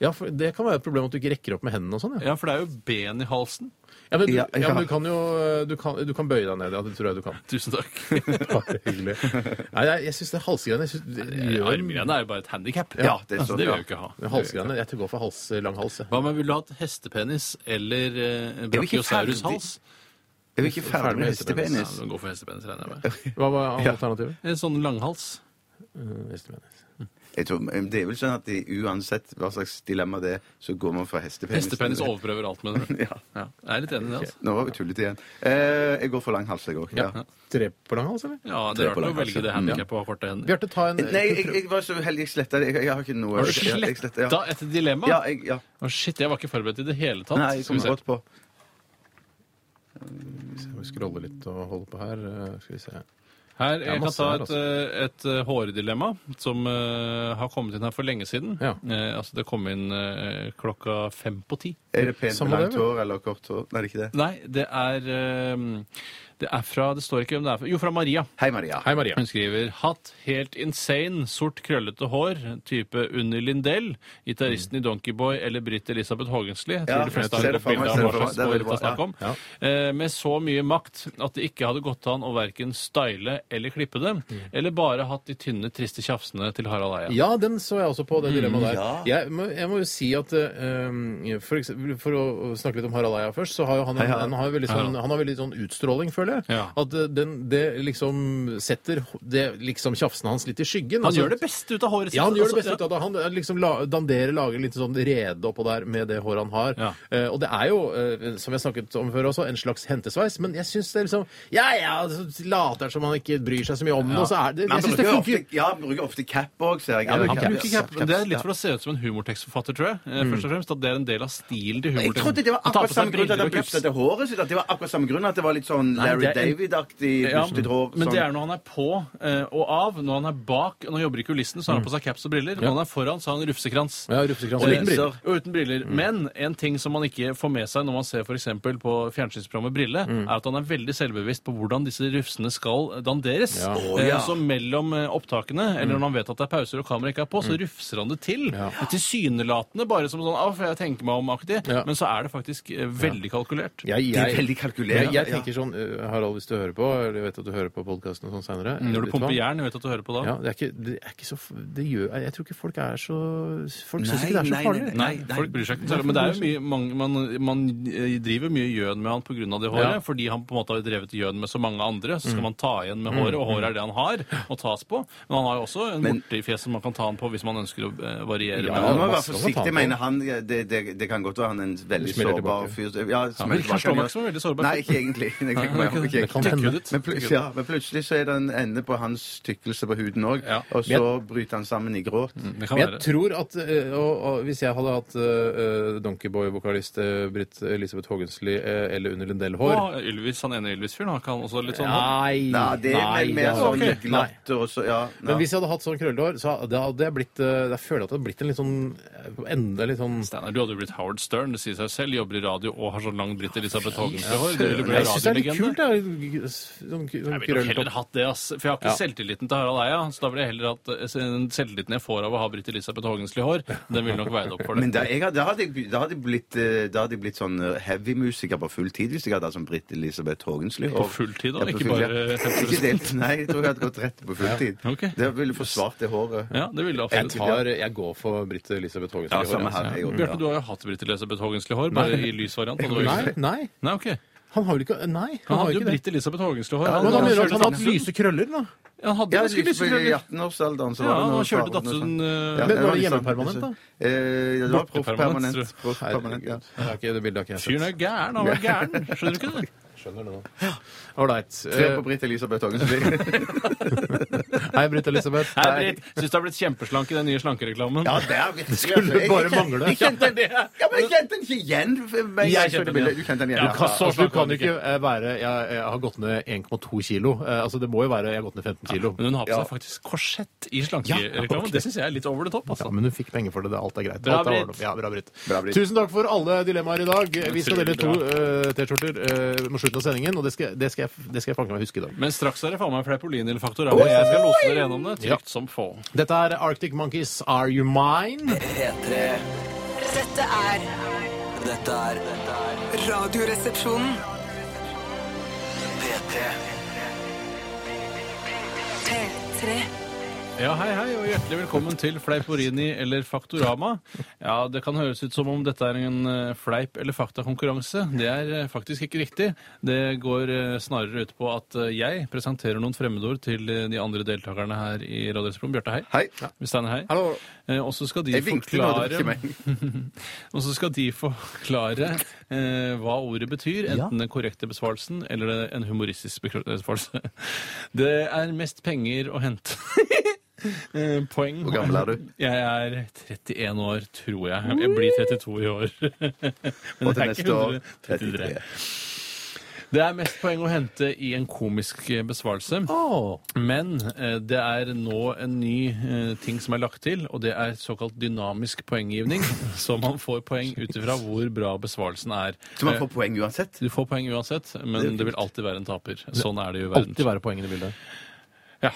Ja, for Det kan være et problem at du ikke rekker opp med hendene og sånn. Ja.
Ja, for det er jo ben i halsen.
Ja, men, du-
Ja, ja.
ja, men du kan jo eh, du kan, du kan bøye deg ned. Ja, det tror jeg du kan.
Tusen takk.
Bare hyggelig. Nei, jeg, jeg syns det halsgreiene jeg synes, det gjør-
Armgreiene er jo bare et handikap.
Ja, det er så-
det vil
ja.
jeg jo ikke ha.
det Halsgreiene, Jeg går for hals, eh, lang hals. jeg.
Hva med vil du ha et hestepenis eller eh,
vi ikke
brachiosaurus-hals?
Er vi ikke ferdig med
Ja,
hestepenis?
du går for hestepenis, regner jeg med.
Hva var alternativet?
En sånn langhals.
Mm, hestepenis.
Jeg tror, det er vel sånn at de, uansett hva slags dilemma det er, så går man for hestepenis.
Hestepenis overprøver alt, mener du?
Ja.
Ja, jeg er litt enig i det, altså.
Nå var vi tullete igjen. Eh, jeg går for lang hals, jeg òg. Ja.
Tre på lang hals, eller?
Ja, det er
på
rart å
langhals,
velge det
ja.
handikapet og ha korte hender.
Bjarte, ta en
Nei, jeg, jeg var så heldig jeg sletta det. Jeg, jeg har ikke noe
Har du
jeg- jeg
sletta
slettet, ja.
et dilemma?
Ja, jeg, ja.
Å, shit, jeg var ikke forberedt i det hele tatt.
Nei, jeg
Skal
kom
vi se.
godt på.
Vi scroller litt og holder på her. eh, Skal vi se.
Her,
er
jeg kan
masse
ta
her,
et,
altså.
eh, et eh, hårdilemma som eh, har kommet inn her for lenge siden.
Ja.
Eh, altså, det kom inn eh, klokka fem på ti.
Er det pent
Samme
med langt
det, vel?
hår eller kort hår? Nei, det er ikke det.
Nei, det er eh, Det er fra Det står ikke hvem det er fra. Jo, fra Maria.
Hei, Maria.
Hei, Maria.
Hun skriver hatt helt insane, sort krøllete hår, type Unni Lindell, gitaristen i Donkeyboy eller Britt Elisabeth Haagensli. Jeg tror
Ja,
de fleste
ser
har
det
et
for meg,
bilde av
ser
hva
det for meg.
slags
Det er
hår
veldig
det er
bra,
snakk om. Eh, Med så mye makt at det ikke hadde gått an å verken style eller klippe det,
Mm.
eller bare hatt de tynne, triste tjafsene til Harald Eia.
Ja, den så jeg også på, det dilemmaet der. Jeg, må, jeg må jo si at eh, for, eksempel, for å å snakke litt om Harald Eia først, så har jo han, en, han har jo veldig sånn, han har veldig sånn utstråling, føler jeg.
Ja.
At eh, den, det liksom setter det, liksom tjafsen hans litt i skyggen. Altså,
Han gjør det beste ut av håret sitt.
Ja, han gjør det
altså,
beste ut av det. Han eh, liksom la, danderer, lager litt sånn rede oppå der med det håret han har.
Ja.
Eh, og det er jo, eh, som jeg snakket om før også, en slags hentesveis, men jeg syns det er liksom Ja, ja, så later han som han ikke bryr seg så mye om det, og så er det Jeg
Men han
syns det
bruker
funker.
ofte, ja, han bruker ofte cap òg, ser jeg.
Ja,
Eller
han
Han
cap,
bruker
ja.
cap, men Det er
ja. Mm.
litt for å se ut som en humortekstforfatter, tror jeg. Eh, Først og fremst At det er en del av stilen til
Jeg
humorteksten.
trodde det var
Han tar på
akkurat
seg
samme grunn til at han
briller og caps.
bustet til håret sitt. At det var akkurat samme grunn at det var litt sånn
Nei,
Larry
det er en-
David-aktig
Ja,
bustet hår.
men
sånn.
det er når han er på eh, og av. Når han er bak og når han jobber i kulissene, så har han på seg caps og briller. Når han er foran, så har han rufsekrans.
Mm. Ja, rufsekrans og
Og
liten
lenser.
briller. Mm.
Og uten briller. Men en ting som man ikke får med seg når man ser f.eks. på fjernsynsprogrammet Brille,
Mm.
er at han er veldig selvbevisst på hvordan disse rufsene skal danderes.
Ja. Mm.
Eh, Så mellom eh, opptakene, eller når han vet at det er pauser og kameraet ikke er på, så rufser han det til. Tilsynelatende bare som sånn 'Å, for jeg tenker meg om'-aktig.
Ja.
Men så er det faktisk eh, veldig kalkulert.
Jeg,
Det er veldig
Jeg,
kalkulert,
jeg
ja.
tenker sånn, eh, Harald, hvis du hører på, eller jeg vet at du hører på podkasten og sånn seinere
Mm,
Når du pumper jern, jeg vet at du hører på da.
Ja, det er ikke, det er ikke så f- det gjør, Jeg tror ikke folk er så Folk syns ikke
Nei,
det er så
nei,
farlig.
nei,
Nei, folk bryr seg ikke. særlig, Men det er jo mye, mange, man, man eh, driver mye gjøn med han pga. det håret.
Ja. Mm.
Fordi han på en måte har drevet gjøn med så mange andre. Så skal man ta igjen med håret, og håret er det han har å tas på. Men han har jo også en
Men-
bortefjes som man kan ta han på hvis man ønsker å eh, variere.
Ja,
med
Man
han.
må være
masse å ta på.
forsiktig, mener han. Ja, Det, det, det kan godt være han er en veldig
Smeller
sårbar
tilbake.
fyr. Ja, smeller
men Kjærstad
tilbake.
Max var veldig sårbar.
Nei, ikke egentlig. Det kan ikke være- ikke
Det kan
egentlig.
hende.
Tykkhuddet.
Men, plut- ja, men plutselig så er det en ende på hans tykkelse på huden òg,
Ja. Mm.
og så bryter han sammen i gråt.
Det kan
Men jeg
være.
tror at eh, og, og Hvis jeg hadde hatt eh, Donkeyboy-vokalist eh, Britt Elisabeth Haagensli eh, eller Unni Lindell Hår
Og Ylvis, han ene Ylvis-fyren, han kan også litt sånn
Nei,
Nei, det er vel mer
det er-
sånn
Ok. Nei.
glatt og så Ja.
Men
ja.
hvis jeg hadde hatt sånn krøllete hår, så hadde hadde jeg blitt eh, Jeg føler at det hadde blitt en litt sånn eh, Enda litt sånn
Steinar, du hadde jo blitt Howard Stern, det sier seg selv. Jobber i radio og har sånn lang dritt Elisabeth Haagensrud-hår. Du ville bli
Jeg syns det er litt
radiolegende.
kult, jeg. Sånn, sånn
Jeg ville nok heller
krøllete
hatt det, ass. For jeg har ikke
Ja.
selvtilliten til Harald Eia. Så da ville jeg heller hatt eh, den selvtilliten jeg får av å ha Britt Elisabeth Haagensli hår. Den ville nok veid opp for det.
Men da, jeg, hadde- da, hadde jeg, da, hadde jeg blitt, eh, da hadde jeg blitt sånn eh, heavy-musiker på full tid hvis jeg hadde hatt sånn Britt Elisabeth Haagensly.
På full tid, da?
Ja, på
Ikke
full-
bare
ja.
50%?
Ikke delt, nei. Jeg tror jeg hadde gått rett på full tid.
Ok.
Det ville forsvart det håret.
Ja, det ville jeg
Jeg,
absolutt.
tar, jeg går for Britt Elisabeth Haagensli.
Ja,
i
samme
håret, altså.
her. Jeg,
Bjarte, du har jo hatt Britt Elisabeth Haagensli hår, bare i lysvariant. hadde du ikke
Nei,
det?
nei,
Nei, ok.
han har vel ikke Nei, han, har
Han
jo
hadde jo
ikke det.
Britt Elisabeth Haagensli hår.
Ja,
her.
Men han mener at
kjørte
han har hatt
Datsun.
lyse krøller, da.
Ja, Han hadde
Ja,
ganske lyse
i
krøller.
18-årsalderen så
Ja,
var det
han
noe
kjørte
farge og
Datsun
sånt.
eh,
Ja,
Men var det
litt sånn-
hjemmepermanent, da?
Eh, ja, det var
Bortepermanent,
proffpermanent.
tror
Proffpermanent, ja.
Det, er ikke, det bildet har ikke jeg
Fyren
sett.
er gæren. Han var gæren. Skjønner du ikke det?
Skjønner det nå. Ålreit.
Tre på Britt Elisabeth Haagensly.
Hei, Britt Elisabeth.
Hei, Britt. Syns du har blitt kjempeslank i den nye slankereklamen?
Ja, det er virkelig altså.
Skulle
Jeg-
bare
jeg-
mangle.
Jeg kjente den, ja, men jeg kjente den ikke igjen. men
Jeg
så det
kjente den
bildet. Du kjente den igjen.
Ja, hva
Ja,
så?
Altså, du kan jo ikke eh, være jeg, jeg har gått ned 1,2 kilo. Eh, Altså, det må jo være jeg har gått ned 15 kilo.
Men hun har på
Ja.
seg faktisk korsett i
Ja,
slankereklamen.
ja, ok.
Det syns jeg er litt over the top.
Ja,
Altså.
men hun fikk penger for det. det- Alt er greit.
Bra,
Alt er
Britt.
ordentlig. Ja, bra, Britt.
Bra, Britt.
Tusen takk for alle dilemmaer i dag. Vi skal dele to
Bra.
eh, T-skjorter eh, mot slutten av sendingen, og det skal, det skal jeg, det skal jeg fange meg huske i dag.
Men straks er det faen meg Fleipolini-faktor. og Jeg skal lose dere gjennom det trygt som få.
Dette er Arctic Monkeys Are You Mine.
P3.
Dette er
Dette er dette er
Radioresepsjonen.
P3.
P3.
Ja, hei, hei, og hjertelig velkommen til Fleiporini eller Faktorama. Ja, det kan høres ut som om dette er en eh, fleip- eller faktakonkurranse. Det er eh, faktisk ikke riktig. Det går eh, snarere ut på at eh, jeg presenterer noen fremmedord til eh, de andre deltakerne her i Radioresepsjonen. Bjarte, hei.
Hei.
Steiner, hei.
Hallo.
Eh, Og så skal de
Jeg vinket nå, det var ikke
forklare
meg.
Og så skal de forklare eh, hva ordet betyr, enten den korrekte besvarelsen eller en humoristisk bekro- besvarelse. Det er mest penger å hente. Eh, Poeng.
Hvor gammel er du?
Jeg er 31 år, tror jeg. Jeg blir 32 i år. Men
Og
det
til
er ikke
neste år
100, 33.
33.
Det er mest poeng å hente i en komisk eh, besvarelse. Men eh, det er nå en ny eh, ting som er lagt til, og det er såkalt dynamisk poenggivning. Så man får poeng ut ifra hvor bra besvarelsen er.
Så man
Eh,
får poeng uansett?
Du får poeng uansett, men det vil alltid være en taper. Sånn er det jo i
Alltid
verden.
være poengene i bildet.
Ja.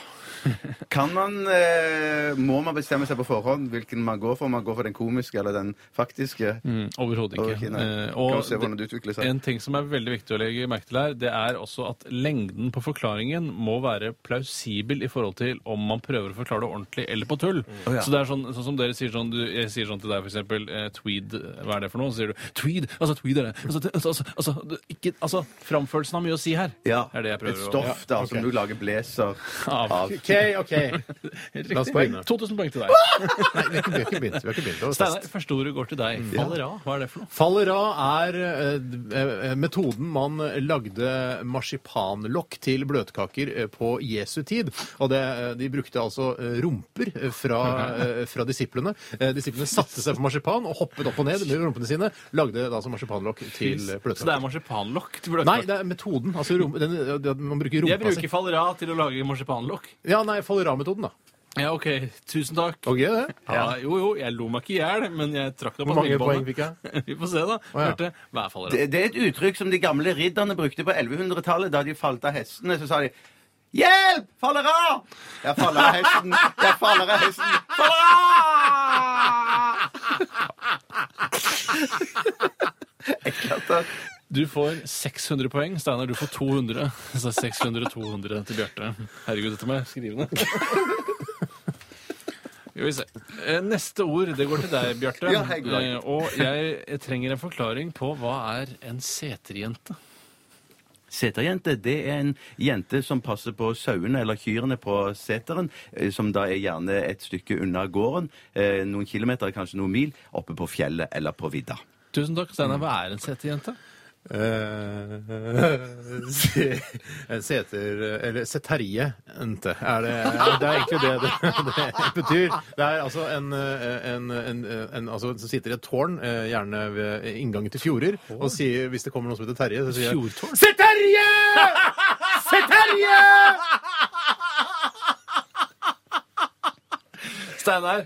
Kan man, eh, Må man bestemme seg på forhånd hvilken man går for? Om man går for den komiske eller den faktiske?
Mm, Overhodet ikke.
Ok, nei.
Eh,
Kan vi se hvordan det utvikler
Liksom.
seg?
En ting som er veldig viktig å legge merke til her, det er også at lengden på forklaringen må være plausibel i forhold til om man prøver å forklare det ordentlig eller på tull.
Mm.
Så det er sånn, sånn som dere sier sånn, du, jeg sier sånn til deg for eksempel, eh, tweed, hva er det for noe? Så sier du, tweed, altså tweed er det. Altså, det- altså, altså, altså, det- ikke, altså framførelsen har mye å si her.
Ja.
Er det jeg prøver
Et
å-
stoff da, som
ok.
du lager blazer.
av.
OK, OK. La oss
Riktig.
begynne.
2000 poeng til deg.
Nei, vi har ikke, vi har ikke begynt. Vi har ikke begynt. Det var
Steinar,
fast.
første ordet går til deg.
Mm.
Faller av. Hva er det for noe?
Faller av er eh, d- eh, metoden man lagde marsipanlokk til bløtkaker eh, på Jesu tid. Og det, eh, de brukte altså eh, rumper eh, fra, eh, fra disiplene. Eh, Disiplene satte seg på marsipan og hoppet opp og ned med rumpene sine. Lagde da altså marsipanlokk til eh,
Så det er
bløtkaker.
marsipanlokk? til
Nei,
bløtkake.
det er metoden. Altså, rum, den, den, man bruker
Jeg
rumpa
bruker faller av til å lage marsipanlokk.
si. Ja, nei, faller av-metoden, da.
Ja, OK. Tusen takk.
Ok, det.
Ja, jo, jo, jeg lo meg ikke i hjel, men jeg trakk deg på
Hvor mange
smilebåndet.
poeng fikk jeg?
Vi får se, da.
ja.
Hørte, hva er faller av?
Det, det er et uttrykk som de gamle ridderne brukte på 1100-tallet. Da de falt av hestene, så sa de Hjelp! Faller av! Jeg faller av hesten. Jeg faller av hesten. Faller av! Jeg klarte at-
Du får 600 poeng. Steinar, du får 200. Så 600-200 til Bjarte. Herregud, dette må jeg skrive ned. Skal vi se. Eh, Neste ord, det går til deg, Bjarte.
Ja, hei, god dag.
Eh, Og jeg, jeg trenger en forklaring på hva er en seterjente.
Seterjente det er en jente som passer på sauene eller kyrne på seteren, eh, som da er gjerne et stykke unna gården, eh, noen kilometer, kanskje noen mil, oppe på fjellet eller på vidda.
Tusen takk,
Mm.
Steinar. Hva er en seterjente?
Eh, se- Seter Eller seterje ente. Er det, det er egentlig det det, det betyr. Det er altså en, eh, en, en, en altså, som sitter i et tårn, eh, gjerne ved inngangen til fjorder, og sier, hvis det kommer noen som heter Terje, så sier jeg
Fjordtårn?
Se Terje! Se Terje!
Steinar,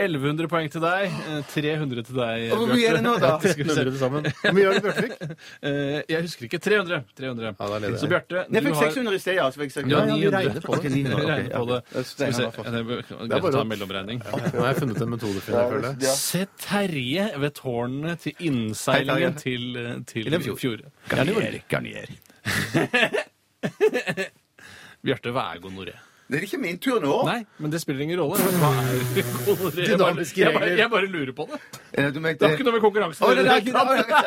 1100 poeng til deg. eh, 300 til deg, Bjarte.
Hvor mye er det nå, da?
Skal vi se.
Numrer det sammen. Hvor mye gjør det, Bjørtvik?
Eh, jeg husker ikke. 300.
Ja,
300.
da leder jeg.
så Bjarte,
Jeg fikk
du har
600 i sted, ja. Så fikk jeg
Ja,
600.
vi regner på det.
Ok, 900, ok,
Regner på
ja.
det. Skal vi se.
Steinar var
Ja,
først.
Det er greit
bare
å ta
å-
mellomregning.
Nå har jeg funnet en metode, Finn, jeg føler.
Ja.
Se Terje ved tårnene til innseilingen til, eh, til
en fjord.
fjord.
Garnier. Garnier.
Bjarte, hva er gonoré?
Det er ikke min tur nå.
Nei, men det spiller ingen rolle. Hva er gonoré? Jeg bare,
Dynamiske
jeg, bare,
regler.
jeg bare lurer på det.
Eh, Du mente
Det har ikke noe med
Å,
konkurransen å
det er
gjøre.
ikke- å,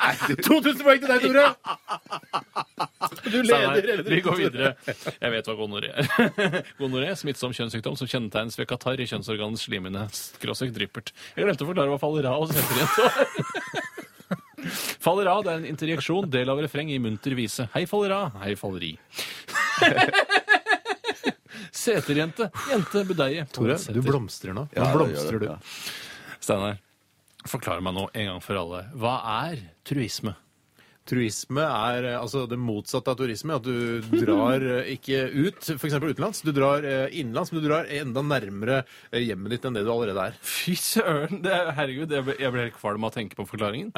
ja.
2000 poeng til deg, Tore! Du
Steinar,
leder. leder.
Vi går videre. Jeg vet hva gonoré er. Gonoré, smittsom kjønnssykdom som kjennetegnes ved katarr i kjønnsorganets slimhinne. Skråstrek dryppert. Jeg glemte å forklare hva fallerat heter igjen. Fallerat er en interjeksjon, del av refreng i munter vise. Hei, fallerat. Hei, falleri. Seterjente. Jente, budeie.
Tore,
Seter.
du blomstrer nå. Nå
Ja, det gjør
blomstrer
det,
du.
ja.
Steinar, forklar meg nå en gang for alle. Hva er truisme?
Turisme er eh, altså det motsatte av turisme. At du drar eh, ikke ut, f.eks. utenlands. Du drar eh, innenlands, men du drar enda nærmere eh, hjemmet ditt enn det du allerede er.
Fy søren! det er- Herregud, jeg ble, jeg ble helt kvalm av å tenke på forklaringen.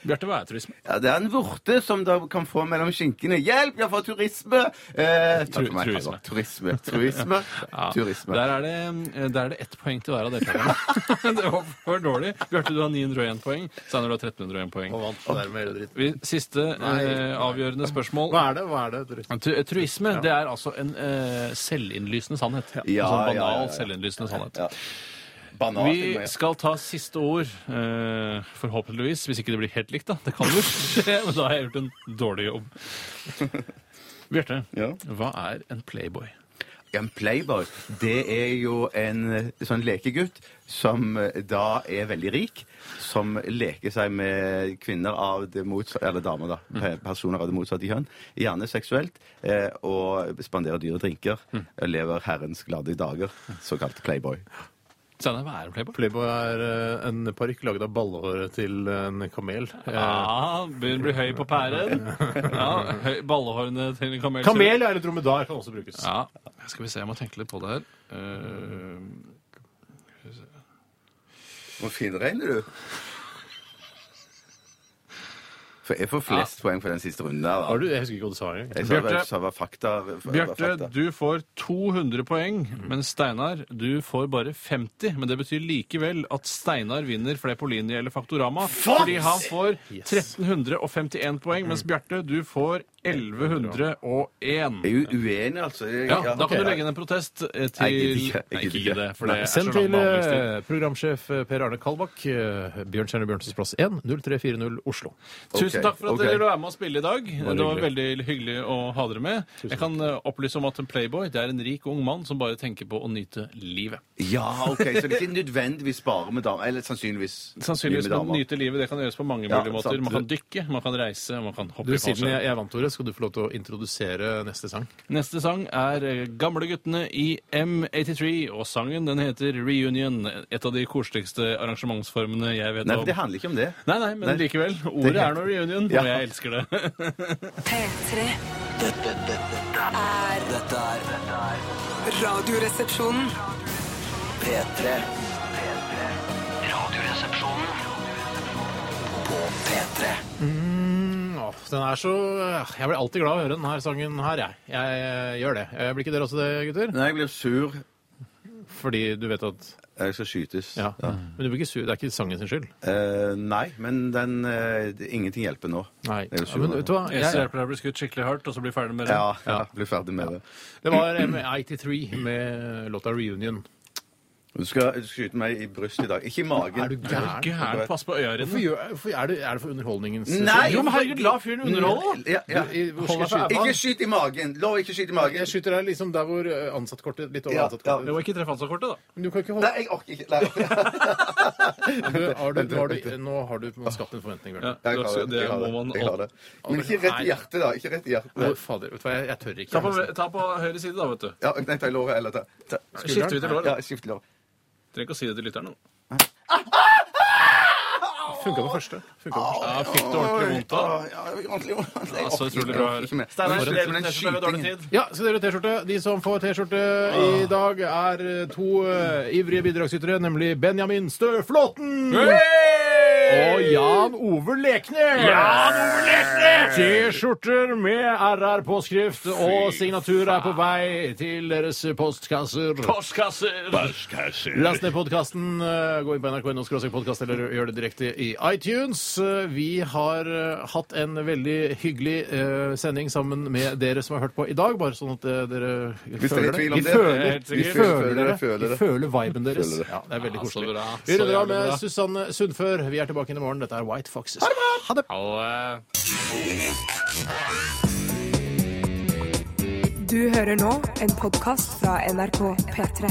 Bjarte, hva er truisme?
Ja, det er en vorte som da kan få mellom skinkene. Hjelp, jeg får turisme! Eh, takk for meg.
truisme.
Turisme. Turisme.
Ja,
turisme.
Der er det, eh, der er det ett poeng til hver av deltakerne. det var for dårlig. Bjarte, du har 901 poeng. Steinar, du har 1301 poeng.
Og vant dermed hele dritten.
Vi, siste eh, avgjørende spørsmål.
Hva er det? Hva er det? Tore?
Tru- eh, Truisme det er altså en eh, selvinnlysende sannhet.
Ja,
altså en
ja, ja,
banal,
ja.
selvinnlysende sannhet.
Ja. Banan til
Vi
meg.
skal ta siste ord, eh, forhåpentligvis. Hvis ikke det blir helt likt, da. Det kan jo skje, men da har jeg gjort en dårlig jobb. Bjarte,
Ja.
hva er en playboy?
En playboy, det er jo en eh, sånn lekegutt som eh, da er veldig rik, som leker seg med kvinner av det motsatte, eller damer da,
Mm.
pe- personer av det motsatte kjønn, gjerne seksuelt, eh, og spanderer dyre drinker,
Mm.
og lever herrens glade dager, såkalt playboy.
Steinar, hva er en playboy?
Playboy er eh, en parykk laget av ballehåret til en kamel. Eh,
Ja, begynner å bli høy på pæren. Ja, høy, Ballehårene til en kamel.
Kamel eller dromedar kan også brukes.
Ja, Skal vi se, jeg må tenke litt på det her. Eh,
Hvor finregner du? For jeg får flest poeng for den siste runden der. Da.
Har du, jeg husker ikke hva du sa engang.
Jeg sa
Bjarte-
hva- sa hva fakta hva
Bjarte,
fakta.
du får 200 poeng, men Steinar, du får bare 50. Men det betyr likevel at Steinar vinner Fleipolini eller Faktorama. Fordi han får 1351 poeng, mens Bjarte, du får 1101.
Jeg er jo uenig, altså. Jeg-
Ja, Da
ok.
kan du legge inn en protest eh,
Nei, jeg
til
gidder ikke. Jeg
Nei, ikke
gidder
gi
ikke.
det, for det er så
Send
lang
til
behandlingstid.
eh, programsjef eh, Per Arne Kalbakk, eh, Bjørn Stjerne Bjørnsens plass 1, 0340 Oslo.
Tusen Tusen takk for at
Ok.
dere ville være med og spille i dag. Det var
hyggelig.
veldig hyggelig å ha dere med. Jeg kan eh, opplyse om at en playboy det er en rik ung mann som bare tenker på å nyte livet.
Ja, ok, Så det er ikke nødvendigvis bare med damer? Eller sannsynligvis
Sannsynligvis
med
man
damer.
nyter livet. Det kan gjøres på mange
Ja,
mulige måter.
sant.
Man kan dykke, man kan reise, man kan hoppe
Du,
i
Siden jeg,
fallskjerm.
jeg vant ordet, skal du få lov til å introdusere neste sang.
Neste sang er eh, Gamleguttene i M83, og sangen den heter Reunion. Et av de koseligste arrangementsformene jeg vet
Nei,
om.
for det handler ikke om det.
Nei, nei, men
Nei.
likevel. Ordet er nå reunion,
Ja.
og jeg elsker det.
P3
Dette, dette, dette er Dette er dette er
Radioresepsjonen
P3. Radioresepsjonen på P3.
Mm, Åh, den er så Jeg blir alltid glad av å høre den her sangen her, jeg. Jeg eh, gjør det. Eh, Blir ikke dere også det, gutter?
Nei, jeg blir sur.
Fordi du vet at
Jeg skal skytes.
Ja. Men du blir ikke sur. Det er ikke sangen sin skyld.
Eh, nei, men den eh, det- Ingenting hjelper nå.
Nei.
Jeg er
Ja,
sur
men
nå.
vet du hva?
Jeg
Jeg,
ser på deg bli skutt skikkelig hardt, og så bli ferdig med det.
Ja, ja, bli ferdig med det.
det var eh, M83 med låta 'Reunion'.
Du skal, du skal skyte meg i brystet i dag. Ikke i magen.
Er du
Er du
gæren?
gæren? Pass på
Hvorfor
øyerene.
gjør, hvorfor er, det, er det for underholdningens
Nei!
Jo, men herregud, la fyren underholde! da.
Ja, ja.
Du, i- hvor skal jeg
Ikke
skyte?
Ikke skyt i magen! Lov, ikke skyt i magen.
Jeg skyter deg liksom der hvor eh, ansattkortet Litt over
Ja,
ansattkortet.
Mm. Det var ikke treff Hansa-kortet, da.
Men du kan ikke
Nei,
holde
jeg orker ikke. Nei.
Har du- har du, nå har du, Nå har du skapt en forventning, Bjørn.
Ja,
Jeg klarer det.
det
Jeg
må
klarer
man
det. Jeg klarer det. Men ikke rett i hjertet, da. Ikke rett i
Nei,
hjertet.
fader, vet du hva, jeg, jeg tør
Ta på,
ikke.
ta på høyre side, da, vet du.
Ja, nei, ta i låret eller ta, ta.
Skifter vi til låret?
Ja, skift lår.
Trenger ikke å si det til lytterne. da.
Funka på første. Funket på første.
Ja, fikk du ordentlig vondt da? Altså,
Åh, ja, jeg ordentlig vondt. Jeg
Ja, så
orker ikke,
utrolig
jeg
bra.
orker ikke mer.
Steinar,
Men
dere-
den
dere skal ha dårlig
skytingen-
tid.
Ja, så dere T-skjorte. De som får T-skjorte i dag, er to eh, ivrige bidragsytere, nemlig Benjamin Støflåten og Jan Ove Leknes. Jan Ove Leknes! T-skjorter med RR-påskrift og signatur er på vei til deres postkasser.
Postkasser!
Last ned podkasten. Gå inn på nrk.no podkast eller gjør det direkte i iTunes. Eh, Vi har eh, hatt en veldig hyggelig eh, sending sammen med dere som har hørt på i dag. Bare sånn at eh, dere
Hvis dere er i tvil om
Vi
det.
føler,
Helt
vi
sikkert.
føler,
Føler det,
dere.
føler
Vi
det.
føler viben deres.
Føler det.
Ja, det er veldig
Ja, så
koselig.
bra.
Vi
Så
runder av
jævlig
med
bra.
Susanne Sundfør. Vi er tilbake inn i morgen. Dette er White Foxes. Ha det!
Alle
Du hører nå en podkast fra NRK P3.